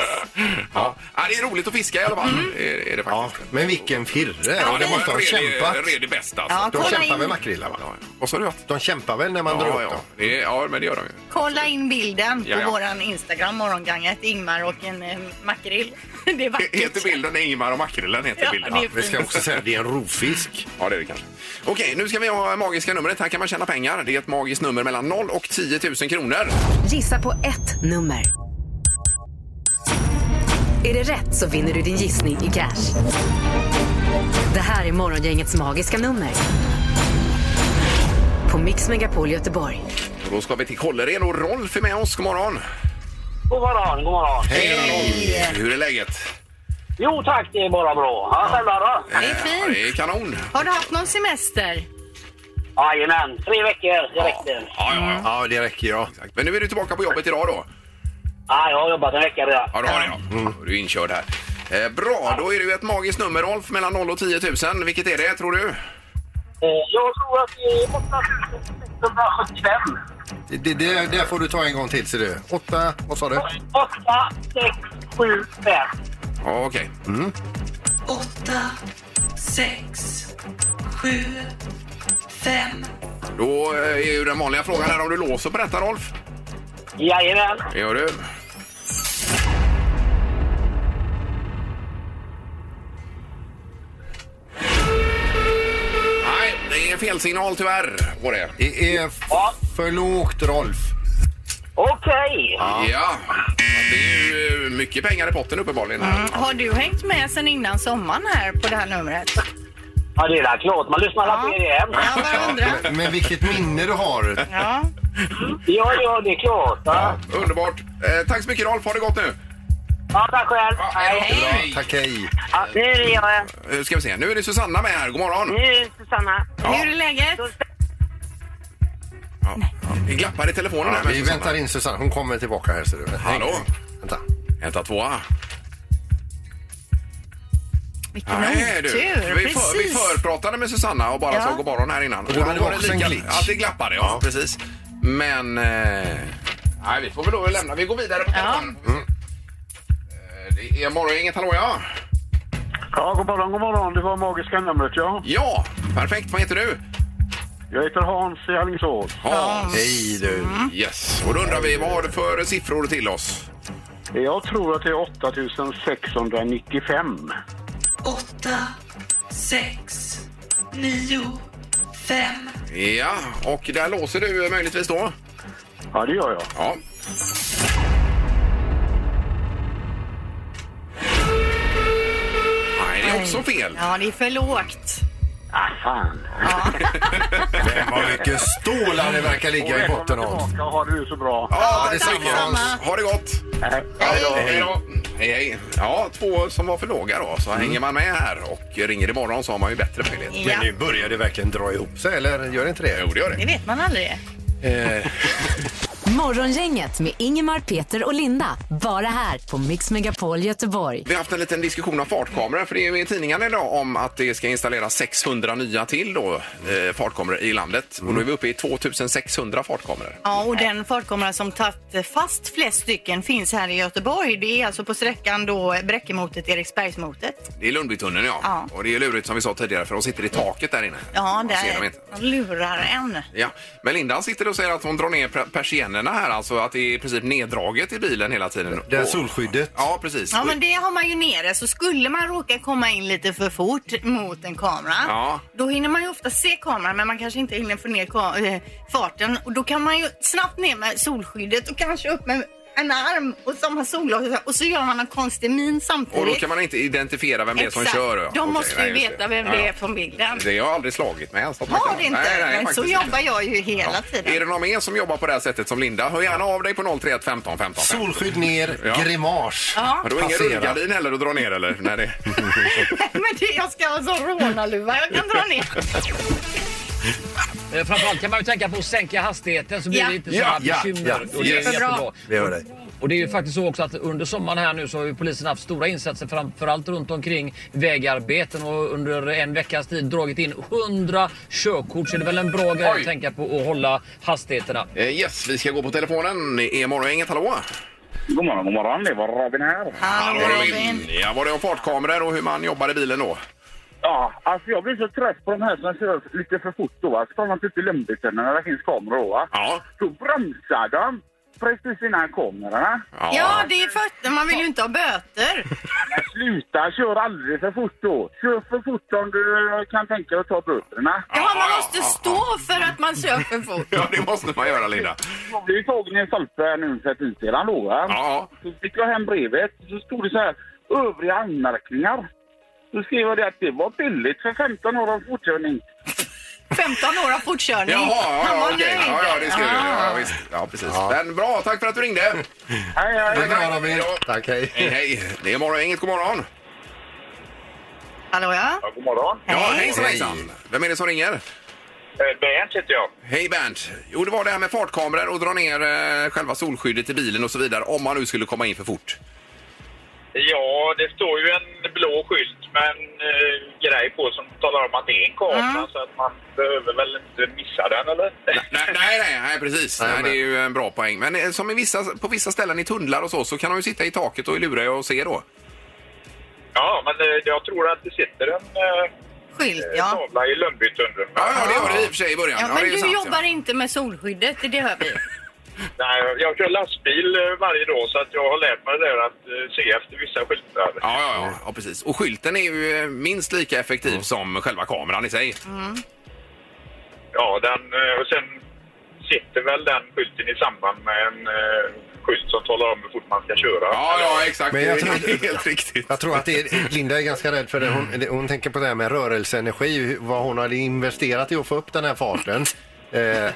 Speaker 2: ja. ja, det är roligt att fiska i alla fall.
Speaker 3: Mm.
Speaker 2: Är, är det
Speaker 4: Ja,
Speaker 2: faktiskt.
Speaker 4: men vilken firre! Ja, de måste ha kämpat.
Speaker 2: Det är det bästa
Speaker 3: Ja,
Speaker 2: alltså.
Speaker 4: De
Speaker 3: kolla,
Speaker 4: kämpar med
Speaker 3: in,
Speaker 4: makrillar va?
Speaker 2: Ja. Vad sa du? att-
Speaker 4: De kämpar väl när man drar
Speaker 2: Ja,
Speaker 4: upp
Speaker 2: ja.
Speaker 4: dem?
Speaker 2: Det är, ja, men det gör de ju.
Speaker 3: kolla in bilden
Speaker 2: Ja, ja.
Speaker 3: på våran Instagram, morgonganget, Ingmar och en eh, makrill. Det är
Speaker 2: He- Heter
Speaker 3: vackert.
Speaker 2: bilden Ingmar och makrillen heter
Speaker 3: Ja,
Speaker 2: bilden.
Speaker 3: det är
Speaker 4: Vi ska också säga att det är en rovfisk.
Speaker 2: Ja, det är det kanske. Okej, nu ska vi ha magiska numret. Här kan man tjäna pengar. Det är ett magiskt nummer mellan 0 och 10 000 kronor.
Speaker 1: Gissa på ett nummer. Är det rätt så vinner du din gissning i cash. Det här är Morgongängets magiska nummer. På Mix Megapol Göteborg.
Speaker 2: Och då ska vi till Kållered och Rolf är med oss. God morgon!
Speaker 11: God morgon, god morgon.
Speaker 2: Hej! Hur är läget?
Speaker 11: Jo tack, det är bara bra. Ja, själva då?
Speaker 3: Det är
Speaker 2: Ja,
Speaker 3: fint.
Speaker 2: det är kanon!
Speaker 3: Har du haft någon semester?
Speaker 11: Jajamän, tre veckor, det räckte.
Speaker 2: Ja, ja, ja.
Speaker 4: Ja, det räcker ja.
Speaker 2: Exakt. Men nu är du tillbaka på jobbet idag då?
Speaker 11: Ja, jag har jobbat en vecka redan.
Speaker 2: Ja, Mm. det har jag. Du är inkörd här. Eh, bra, då är det ju ett magiskt nummer, Rolf, mellan 0 och 10 000. Vilket är det, tror du?
Speaker 11: Eh, Jag tror att det är 8675.
Speaker 4: Det, det, det, det får du ta en gång till ser du. Åtta, vad sa du?
Speaker 11: 8675.
Speaker 2: Ja, okej.
Speaker 4: Mm.
Speaker 12: åtta, sex, sju, fem.
Speaker 2: Då eh, är ju den vanliga frågan här om du låser på detta, Rolf.
Speaker 11: Jajamän.
Speaker 2: Det gör du. Nej, det är fel signal tyvärr på det.
Speaker 4: Det är f- för lågt Rolf.
Speaker 11: Okej.
Speaker 2: Ja, det är ju eh, mycket pengar i potten uppenbarligen. här.
Speaker 3: Har du hängt med sen innan sommaren här på det här numret?
Speaker 11: Ja, det är väl klart. Man lyssnar alla
Speaker 3: Ja.
Speaker 11: på er igen.
Speaker 3: Jag bara undrar.
Speaker 4: Men vilket minne du har.
Speaker 3: Ja.
Speaker 11: Ja, ja, det är klart. Ja,
Speaker 2: Underbart. Eh, tack så mycket Rolf, ha det gott nu.
Speaker 11: ja tack själv.
Speaker 2: Ja,
Speaker 11: Hej.
Speaker 2: Bra, tack.
Speaker 4: Tack hej.
Speaker 12: Ja, nu är det jag.
Speaker 2: Eh, Ska vi se, nu är det Susanna med här, god morgon.
Speaker 5: Mm.
Speaker 12: Nu är det Susanna.
Speaker 3: Hur är läget?
Speaker 2: Ja. Det glappar i telefonen här med
Speaker 4: Vi
Speaker 2: Susanna.
Speaker 4: väntar in Susanne, hon kommer tillbaka här ser du.
Speaker 2: Hallå?
Speaker 4: Vänta.
Speaker 2: Vänta tvåa.
Speaker 3: Vilken
Speaker 2: Nej, du.
Speaker 3: otur.
Speaker 2: Vi, för, vi
Speaker 3: Precis.
Speaker 2: förpratade med Susanna och bara
Speaker 3: Ja.
Speaker 2: sa god morgon här innan. Och
Speaker 4: då var det
Speaker 2: var
Speaker 4: också en glitch.
Speaker 2: Ja, det glappade, ja. Precis. Men... Eh, nej, vi får väl då lämna. Vi går vidare på telefonen. Mm. Eh, Det är morgongänget, hallå ja.
Speaker 10: Ja, god morgon, god morgon. Det var magiska numret, ja.
Speaker 2: Ja, perfekt. Vad heter du?
Speaker 10: Jag heter Hans i Alingsås.
Speaker 2: Hans.
Speaker 4: Hej du.
Speaker 2: Yes. Och då undrar vi, vad har du för siffror till oss?
Speaker 10: Jag tror att det är 8695.
Speaker 12: Åtta, sex, nio, fem.
Speaker 2: Ja, och där låser du möjligtvis då?
Speaker 10: Ja, det gör jag.
Speaker 2: Ja. Nej, det är också fel.
Speaker 3: Ja, det är för lågt.
Speaker 10: Ah, fan.
Speaker 4: Vad mycket stålar det verkar ligga i botten av.
Speaker 10: tillbaka och ha det nu så bra.
Speaker 2: Ja,
Speaker 4: detsamma,
Speaker 2: detsamma.
Speaker 3: Hans.
Speaker 2: Ha det gott!
Speaker 10: Hej då.
Speaker 2: Hej då! Hej, hej. Ja, två som var för låga då. Så
Speaker 10: Mm.
Speaker 2: hänger man med här och ringer imorgon så har man ju bättre möjlighet.
Speaker 3: Ja,
Speaker 4: Men nu börjar det verkligen dra ihop sig, eller gör det inte det?
Speaker 2: Jo, det gör
Speaker 3: det
Speaker 2: det.
Speaker 3: vet man aldrig.
Speaker 4: Eh,
Speaker 1: Morgongänget med Ingemar, Peter och Linda. Bara här på Mix Megapol Göteborg.
Speaker 2: Vi har haft en liten diskussion om fartkameror för det är ju i tidningarna idag om att det ska installeras 600 nya till då, eh, fartkameror i landet. Och då är vi uppe i 2600 fartkameror.
Speaker 3: Ja, och den fartkamera som tagit fast flest stycken finns här i Göteborg. Det är alltså på sträckan då Bräckemotet, Eriksbergsmotet.
Speaker 2: Det är Lundbytunneln ja.
Speaker 3: Ja.
Speaker 2: Och det är lurigt som vi sa tidigare för de sitter i taket där inne.
Speaker 3: Ja,
Speaker 2: Man ser dem
Speaker 3: där
Speaker 2: inte.
Speaker 3: de lurar en.
Speaker 2: Ja, men Linda sitter och säger att hon drar ner per- persiennerna här, alltså att det är i princip neddraget i bilen hela tiden.
Speaker 4: det här
Speaker 2: Och-
Speaker 4: solskyddet.
Speaker 2: Ja, precis.
Speaker 3: Ja, men det har man ju nere. Så skulle man råka komma in lite för fort mot en kamera,
Speaker 2: Ja.
Speaker 3: då hinner man ju ofta se kameran, men man kanske inte hinner få ner ka- eh, farten. Och då kan man ju snabbt ner med solskyddet och kanske upp med en arm och samma solglasögon och så gör man en konstig min samtidigt.
Speaker 2: Och då kan man inte identifiera vem det är som
Speaker 3: Exakt.
Speaker 2: kör.
Speaker 3: De
Speaker 2: ja. Okej,
Speaker 3: måste
Speaker 2: nej,
Speaker 3: ju
Speaker 2: just
Speaker 3: veta vem
Speaker 2: Ja,
Speaker 3: det
Speaker 2: ja.
Speaker 3: är från bilden.
Speaker 2: Det har jag aldrig slagit mig ens. att man
Speaker 3: Har
Speaker 2: kan-
Speaker 3: det inte?
Speaker 2: Nej, nej,
Speaker 3: men så
Speaker 2: faktiskt
Speaker 3: jobbar jag ju hela tiden.
Speaker 2: Är det någon mer som jobbar på det här sättet som Linda? Hör gärna av dig på 031 15 15 15.
Speaker 4: Solskydd ner,
Speaker 2: Ja.
Speaker 4: grimas.
Speaker 3: Ja.
Speaker 2: Men då är det ingen
Speaker 4: Passera.
Speaker 2: rullgardin heller att dra ner eller? Nej, det...
Speaker 3: Men det, jag ska ha sån rånarluva jag kan dra ner.
Speaker 11: Eh, Framförallt kan man ju tänka på att sänka hastigheten så blir
Speaker 3: Ja.
Speaker 11: det inte
Speaker 4: Ja,
Speaker 11: sådana
Speaker 4: ja,
Speaker 11: bekymmer.
Speaker 4: ja.
Speaker 11: Och det är
Speaker 2: Yes.
Speaker 11: jättebra.
Speaker 4: Vi hör dig.
Speaker 11: Och det är ju faktiskt så också att under sommaren här nu så har ju polisen haft stora insatser framförallt runt omkring vägarbeten och under en veckas tid dragit in 100 körkort. Så det är väl en bra grej
Speaker 2: Oj.
Speaker 11: att tänka på att hålla hastigheterna.
Speaker 2: Eh, Yes, vi ska gå på telefonen. Det är morgongänget, hallå?
Speaker 6: God morgon, god morgon. Det var Robin här.
Speaker 3: Hallå Robin.
Speaker 2: Ja, var det om fartkameror och hur man jobbar i bilen då?
Speaker 6: Ja, alltså jag blir så trött på de här som kör lite för fort då. va. Så tar man typ i Lundbytunneln när det finns kameror då. Va?
Speaker 2: Ja.
Speaker 6: Då bromsar de precis innan kamerorna.
Speaker 3: Ja, det är fötter. Man vill ju inte ha böter.
Speaker 6: Men sluta, kör aldrig för fort då. Kör för fort om du kan tänka dig att ta böterna.
Speaker 3: Ja,
Speaker 2: Ja, ja,
Speaker 3: man måste
Speaker 2: ja,
Speaker 3: stå för att man kör för fort.
Speaker 2: Ja, det måste man göra, Linda.
Speaker 6: Jag blev tagen i en stolpe här nu för ett tid sedan då. va.
Speaker 2: Ja,
Speaker 6: Så fick jag hem brevet. Så stod det så här, övriga anmärkningar. Då skrev jag det att det var billigt för 15 år av fortkörning.
Speaker 3: 15 år av fortkörning.
Speaker 2: Jaha, ja,
Speaker 3: Han var
Speaker 2: ja, okej.
Speaker 3: nöjd. Ah.
Speaker 2: Ja, ja, det ska du. Ja, visst. Ja, precis. Men bra, tack för att du ringde.
Speaker 6: Hej, hej.
Speaker 4: Det är bra Robin.
Speaker 2: Hej då.
Speaker 4: Tack,
Speaker 2: Hej,
Speaker 4: hej.
Speaker 2: hej. Det är morgongänget, god morgon.
Speaker 3: Hallå ja.
Speaker 6: Ja, god morgon.
Speaker 2: Ja,
Speaker 3: Hej.
Speaker 2: hejsan, hejsan. Vem är det som ringer?
Speaker 6: Eh, Bernt heter jag.
Speaker 2: Hej Bernt! Jo, det var det här med fartkameror och dra ner eh, själva solskyddet i bilen och så vidare om man nu skulle komma in för fort.
Speaker 6: Ja, det står ju en blå skylt med en eh, grej på som talar om att det är en kamera så att man behöver väl inte missa den eller?
Speaker 2: Nej, nej, nej, nej precis. Nej,
Speaker 4: Nej,
Speaker 2: det är
Speaker 4: men-
Speaker 2: ju en bra poäng. Men eh, som i vissa, på vissa ställen i tunnlar och så, så kan de ju sitta i taket och lura er och se då.
Speaker 6: Ja, men eh, jag tror att det sitter en eh,
Speaker 3: Skylt ja.
Speaker 6: tavla i Lundbytunneln.
Speaker 2: Ja, ja det gör det i och för sig i början.
Speaker 3: Ja,
Speaker 2: det
Speaker 3: men
Speaker 2: är
Speaker 3: du
Speaker 2: sant,
Speaker 3: jobbar
Speaker 2: ja.
Speaker 3: inte med solskyddet, det hör vi.
Speaker 6: Nej, jag kör lastbil eh, varje dag så att jag har lärt mig det där att eh, se efter vissa skyltar.
Speaker 2: Ja, ja, ja, ja, precis. Och skylten är ju eh, minst lika effektiv som själva kameran i sig.
Speaker 6: Ja, den, eh, och sen sitter väl den skylten i samband med en eh, skylt som talar om hur fort man ska köra.
Speaker 2: Ja, ja, exakt.
Speaker 4: Men jag
Speaker 2: det är
Speaker 4: tror-
Speaker 2: helt riktigt.
Speaker 4: Jag tror att det är, Linda är ganska rädd för det. Hon,
Speaker 2: Mm.
Speaker 4: det- hon tänker på det här med rörelseenergi, hur- vad hon hade investerat i att få upp den här farten. Eh,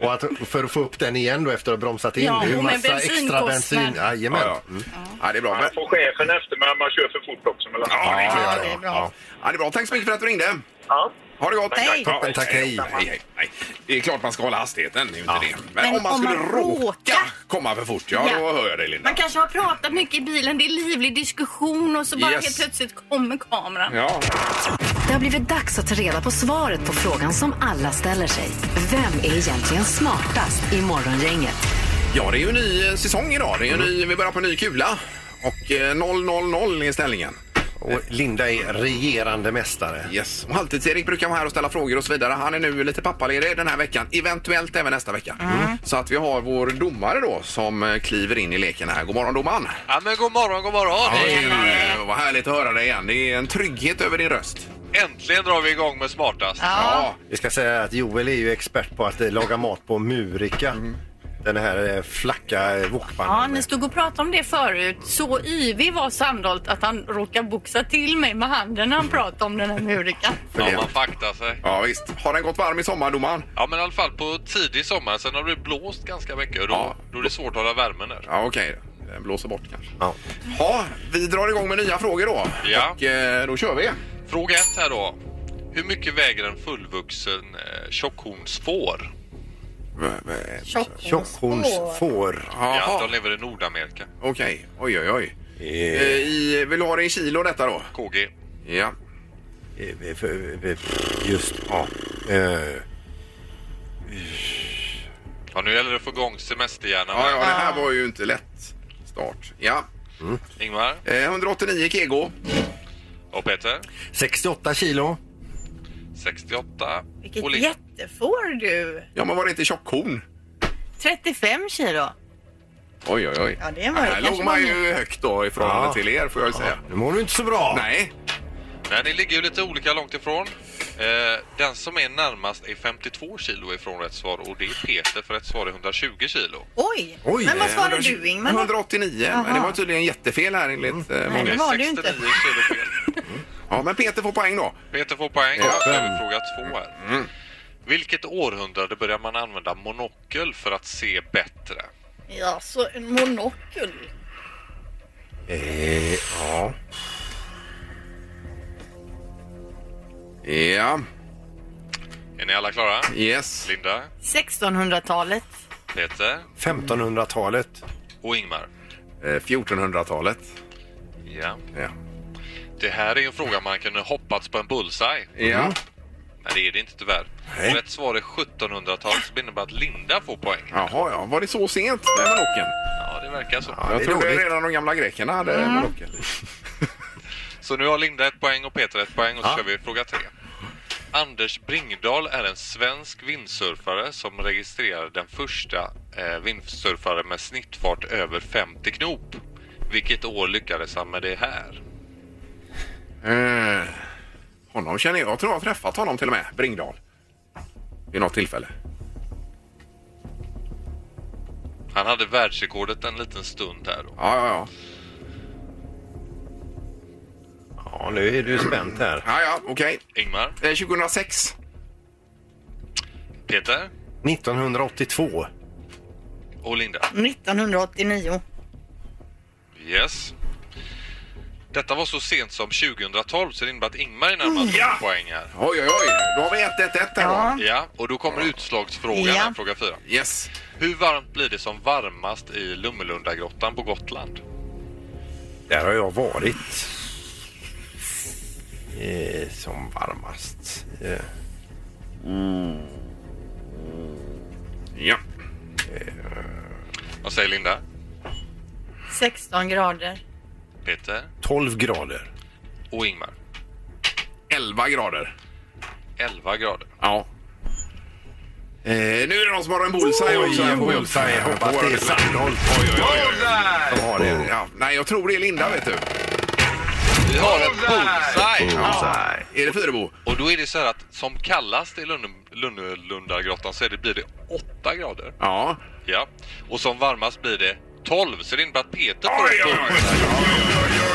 Speaker 4: och att, för att få upp den igen då efter att ha bromsat in.
Speaker 3: Ja,
Speaker 4: det är ju
Speaker 3: och med
Speaker 4: massa extra
Speaker 3: bensinkostnad.
Speaker 4: bensin. Jajamän.
Speaker 2: Ja, ja. ja, det är bra.
Speaker 6: Man får chefen efter mig om man kör för fort också. Mellan
Speaker 2: Ja, det är klart.
Speaker 3: Ja, det är bra.
Speaker 2: Ja. Ja, det är bra. Tack så mycket för att du ringde.
Speaker 6: Ja.
Speaker 2: Ha det gott!
Speaker 3: Hej.
Speaker 2: Tack,
Speaker 4: Tack, hej.
Speaker 2: hej, hej. Det är klart man ska hålla hastigheten, det är ju inte det. Men,
Speaker 3: Men
Speaker 2: om man
Speaker 3: om
Speaker 2: skulle
Speaker 3: man
Speaker 2: råka,
Speaker 3: råkar-
Speaker 2: komma för fort, ja,
Speaker 3: Ja.
Speaker 2: då hör jag dig Linda.
Speaker 3: Man kanske har pratat mycket i bilen, det är livlig diskussion och så bara
Speaker 2: Yes.
Speaker 3: helt plötsligt kommer kameran.
Speaker 2: Ja.
Speaker 1: Det har blivit dags att ta reda på svaret på frågan som alla ställer sig. Vem är egentligen smartast i Morgongänget?
Speaker 2: ja, det är ju en ny eh, säsong idag. Det är ju en ny, vi börjar på en ny kula. Och eh, 0-0-0 är ställningen.
Speaker 4: Och Linda är regerande mästare.
Speaker 2: Yes. Och Halvtids-Erik brukar vara här och ställa frågor och så vidare. Han är nu lite pappaledig den här veckan, eventuellt även nästa vecka.
Speaker 11: Mm.
Speaker 2: Så att vi har vår domare då som eh, kliver in i leken här. God morgon domaren!
Speaker 11: Ja, men god morgon, god morgon.
Speaker 2: Hej! Eh, Vad härligt att höra dig igen. Det är en trygghet över din röst.
Speaker 11: Äntligen drar vi igång med smartast.
Speaker 3: Ja.
Speaker 4: Vi ska säga att Joel är ju expert på att eh, laga mat på murika.
Speaker 2: Mm.
Speaker 4: Den här eh, flacka eh, wokpannan.
Speaker 3: Ja, ni stod och pratade om det förut. Så yvig var Sandholt att han råkade boxa till mig med handen när han pratade om den här murikan.
Speaker 2: För det.
Speaker 11: faktar sig.
Speaker 2: Ja visst. Har den gått varm i sommar domaren?
Speaker 11: Ja, men i alla fall på tidig sommar. Sen har det blåst ganska mycket och då,
Speaker 2: Ja.
Speaker 11: då är det svårt att hålla värmen där.
Speaker 2: Ja okej. Den blåser bort kanske.
Speaker 4: Ja.
Speaker 2: Ja, vi drar igång med nya frågor då.
Speaker 11: Ja.
Speaker 2: Och eh, då kör vi.
Speaker 11: Fråga ett här då. Hur mycket väger en fullvuxen eh, tjockhornsfår?
Speaker 2: V- v-
Speaker 4: Tjockhornsfår.
Speaker 13: Ja,
Speaker 2: Jaha,
Speaker 13: de lever i Nordamerika.
Speaker 2: okej. Oj, oj, oj. Eh, I, vill du ha det i kilo detta då?
Speaker 13: KG.
Speaker 2: Ja.
Speaker 4: Just ja. Eh,
Speaker 13: Ja, nu gäller det att få igång semesterhjärnan.
Speaker 2: Ja, ja, det
Speaker 13: här.
Speaker 2: här var ju inte lätt start. Ja.
Speaker 13: Ingmar
Speaker 2: Eh, 189 kg.
Speaker 13: och Peter.
Speaker 4: 68 kilo.
Speaker 13: 68.
Speaker 3: Vilket
Speaker 13: Olin.
Speaker 3: jättefår du!
Speaker 2: Ja, men var det inte tjockhorn?
Speaker 3: 35 kilo.
Speaker 2: Oj, oj, oj.
Speaker 3: Ja, det var
Speaker 2: här
Speaker 3: det kanske
Speaker 2: låg man
Speaker 3: man-
Speaker 2: ju högt då i förhållande
Speaker 4: Ja.
Speaker 2: till er får jag ju säga.
Speaker 4: Nu mår du inte så bra.
Speaker 2: Nej,
Speaker 13: Nej, ni ligger ju lite olika långt ifrån. Eh, den som är närmast är 52 kilo ifrån rätt svar och det är Peter för rätt svar är 120 kilo.
Speaker 3: Oj!
Speaker 4: Oj,
Speaker 3: men vad
Speaker 4: eh,
Speaker 3: svarade du Ingmar?
Speaker 2: 189. Men det
Speaker 3: Jaha. Mm.
Speaker 2: var tydligen jättefel här enligt eh,
Speaker 13: Det
Speaker 2: många.
Speaker 13: är
Speaker 3: det var det ju inte.
Speaker 13: 69 kilo fel.
Speaker 2: Ja, men Peter får poäng då.
Speaker 13: Peter får poäng. Huvudfråga två här.
Speaker 2: Mm.
Speaker 13: Vilket århundrade började man använda monokel för att se bättre?
Speaker 3: Ja, så en monokel.
Speaker 4: Eh, ja.
Speaker 2: Ja,
Speaker 13: Är ni alla klara?
Speaker 2: yes.
Speaker 13: Linda,
Speaker 3: 1600-talet.
Speaker 13: Peter
Speaker 4: 1500-talet.
Speaker 13: och Ingmar.
Speaker 2: Eh, 1400-talet.
Speaker 13: Ja.
Speaker 2: Ja.
Speaker 4: Mm.
Speaker 13: Det här är ju en fråga man kunde hoppats på en bullseye.
Speaker 2: Ja.
Speaker 13: Men det är det inte tyvärr.
Speaker 4: Nej.
Speaker 13: Rätt svar är 1700-tal som innebär att Linda får poäng.
Speaker 2: Jaha, ja. Var det så sent med monokeln?
Speaker 13: Ja, det verkar så.
Speaker 2: Jag
Speaker 4: det Mm. är
Speaker 2: trodde
Speaker 4: dåligt.
Speaker 2: redan de gamla grekerna hade monokel.
Speaker 13: Så nu har Linda ett poäng och Peter ett poäng och så kör vi fråga tre. Anders Bringdahl är en svensk vindsurfare som registrerade den första eh, vindsurfaren med snittfart över 50 knop. Vilket år lyckades han med det här?
Speaker 2: Eh, honom känner jag. Jag tror jag har träffat honom till och med. Bringdal. Vid något tillfälle.
Speaker 13: Han hade världsrekordet en liten stund här då.
Speaker 2: Ja, ja, ja.
Speaker 4: Ja, nu är du spänt här.
Speaker 2: Ja, ja, okej.
Speaker 13: Ingmar,
Speaker 2: Eh, 2006.
Speaker 13: Peter
Speaker 4: 1982.
Speaker 13: och Linda.
Speaker 3: 1989.
Speaker 13: Yes. Detta var så sent som 2012 så det innebär att Ingmar är närmast
Speaker 2: Mm. Ja!
Speaker 13: poäng här.
Speaker 2: Oj, oj, oj. Då har vi 1-1-1 här
Speaker 3: Ja.
Speaker 2: då.
Speaker 13: Ja, och då kommer utslagsfrågan
Speaker 3: Ja.
Speaker 13: här, fråga fyra.
Speaker 2: Yes.
Speaker 13: Hur varmt blir det som varmast i Lummelundagrottan på Gotland?
Speaker 4: Där har jag varit. Eh, som varmast. Eh,
Speaker 2: Ja.
Speaker 13: Vad säger Linda?
Speaker 3: 16 grader.
Speaker 13: Peter
Speaker 4: 12 grader.
Speaker 13: och Ingmar?
Speaker 2: 11 grader.
Speaker 13: 11 grader.
Speaker 2: Ja. Eh, nu är det någon som har en bullseye också. här på-
Speaker 4: bullseye. Hoppas det är Sandholt.
Speaker 2: Oj, oj, oj, oj. De har det. Ja, nej, jag tror det är Linda, vet du.
Speaker 13: Vi har en bullseye!
Speaker 2: Bullseye. Är det Fyrebo?
Speaker 13: Och då är det så här att som kallast i Lunde- Lummelundagrottan så är det, blir det 8 grader.
Speaker 2: Ja.
Speaker 13: Ja. Och som varmast blir det 12 så det innebär att Peter får
Speaker 2: Oj,
Speaker 13: en
Speaker 2: oj, oj.
Speaker 13: bullseye.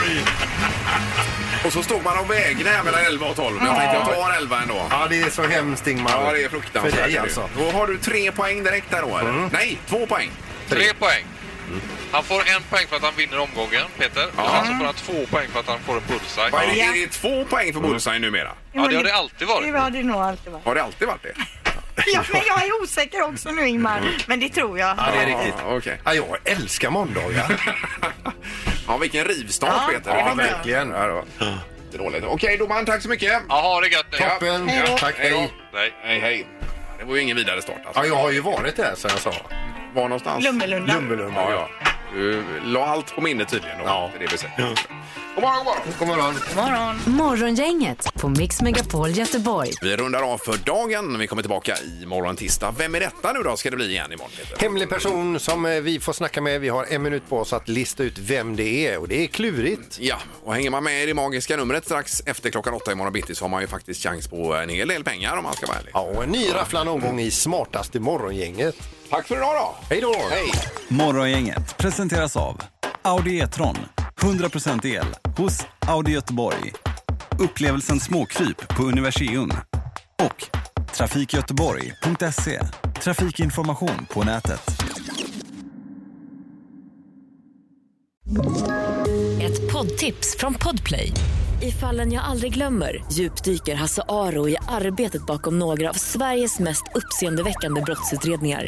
Speaker 2: Och så stod man och vägde här mellan 11 och 12. Men jag tänkte jag tar 11 ändå.
Speaker 4: Ja, det är så hemskt Ingmar.
Speaker 2: Ja, det är fruktansvärt.
Speaker 4: För
Speaker 2: är
Speaker 4: dig
Speaker 2: det.
Speaker 4: alltså.
Speaker 2: Då har du tre poäng direkt där då, eller? Nej, två poäng.
Speaker 13: Tre poäng. Han får en poäng för att han vinner omgången, Peter. Och sen så får han alltså två poäng för att han får en bullseye.
Speaker 2: Vad är, det,
Speaker 3: Ja.
Speaker 2: är det två poäng för bullseye numera?
Speaker 13: Ja, det har det alltid
Speaker 3: Det
Speaker 13: varit.
Speaker 3: var det nog alltid varit.
Speaker 2: Har det alltid varit det?
Speaker 3: Ja, men jag är osäker också nu Ingmar. Men det tror jag.
Speaker 4: Ja, det är riktigt.
Speaker 2: Ja, okej.
Speaker 4: Ja, jag älskar måndagar.
Speaker 2: ja, vilken rivstart,
Speaker 3: Ja,
Speaker 2: Peter.
Speaker 3: det var bra.
Speaker 4: Verkligen. Ja, då.
Speaker 2: Det är dåligt. Okej, domaren, tack så mycket.
Speaker 13: Ja, ha det gött nu.
Speaker 4: Toppen.
Speaker 3: Hej då.
Speaker 4: Tack,
Speaker 2: Hej då.
Speaker 4: hej.
Speaker 13: Nej.
Speaker 2: Hej, hej. Det var ju ingen vidare start. Alltså.
Speaker 4: Ja, jag har ju varit där som jag sa.
Speaker 2: Var någonstans?
Speaker 3: Lummelunda.
Speaker 4: Lummelumma.
Speaker 2: Ja, ja. Du la allt på minnet tydligen. Då.
Speaker 4: Ja.
Speaker 2: Det är det vi säger. God morgon, god morgon.
Speaker 4: God morgon.
Speaker 3: Morgon.
Speaker 1: Morgongänget på Mix Megapol Göteborg.
Speaker 2: Vi rundar av för dagen. Vi kommer tillbaka i morgon tisdag. Vem är detta nu då? Ska det bli igen imorgon? Peter?
Speaker 4: Hemlig person som eh, vi får snacka med. Vi har en minut på oss att lista ut vem det är och det är klurigt.
Speaker 2: Ja, och hänger man med i det magiska numret strax efter klockan åtta imorgon bitti så har man ju faktiskt chans på en hel del pengar om man ska vara ärlig.
Speaker 4: Ja, och en ny rafflande omgång i smartaste morgongänget.
Speaker 2: Tack för idag då!
Speaker 4: Hej då!
Speaker 2: Hej!
Speaker 14: Morgongänget presenteras av Audi E-tron. 100% el hos Audi Göteborg. Upplevelsen småkryp på Universium. Och trafikgöteborg.se. Trafikinformation på nätet.
Speaker 1: Ett poddtips från Podplay.
Speaker 15: I fallen jag aldrig glömmer djupdyker Hasse Aro i arbetet bakom några av Sveriges mest uppseendeväckande brottsutredningar.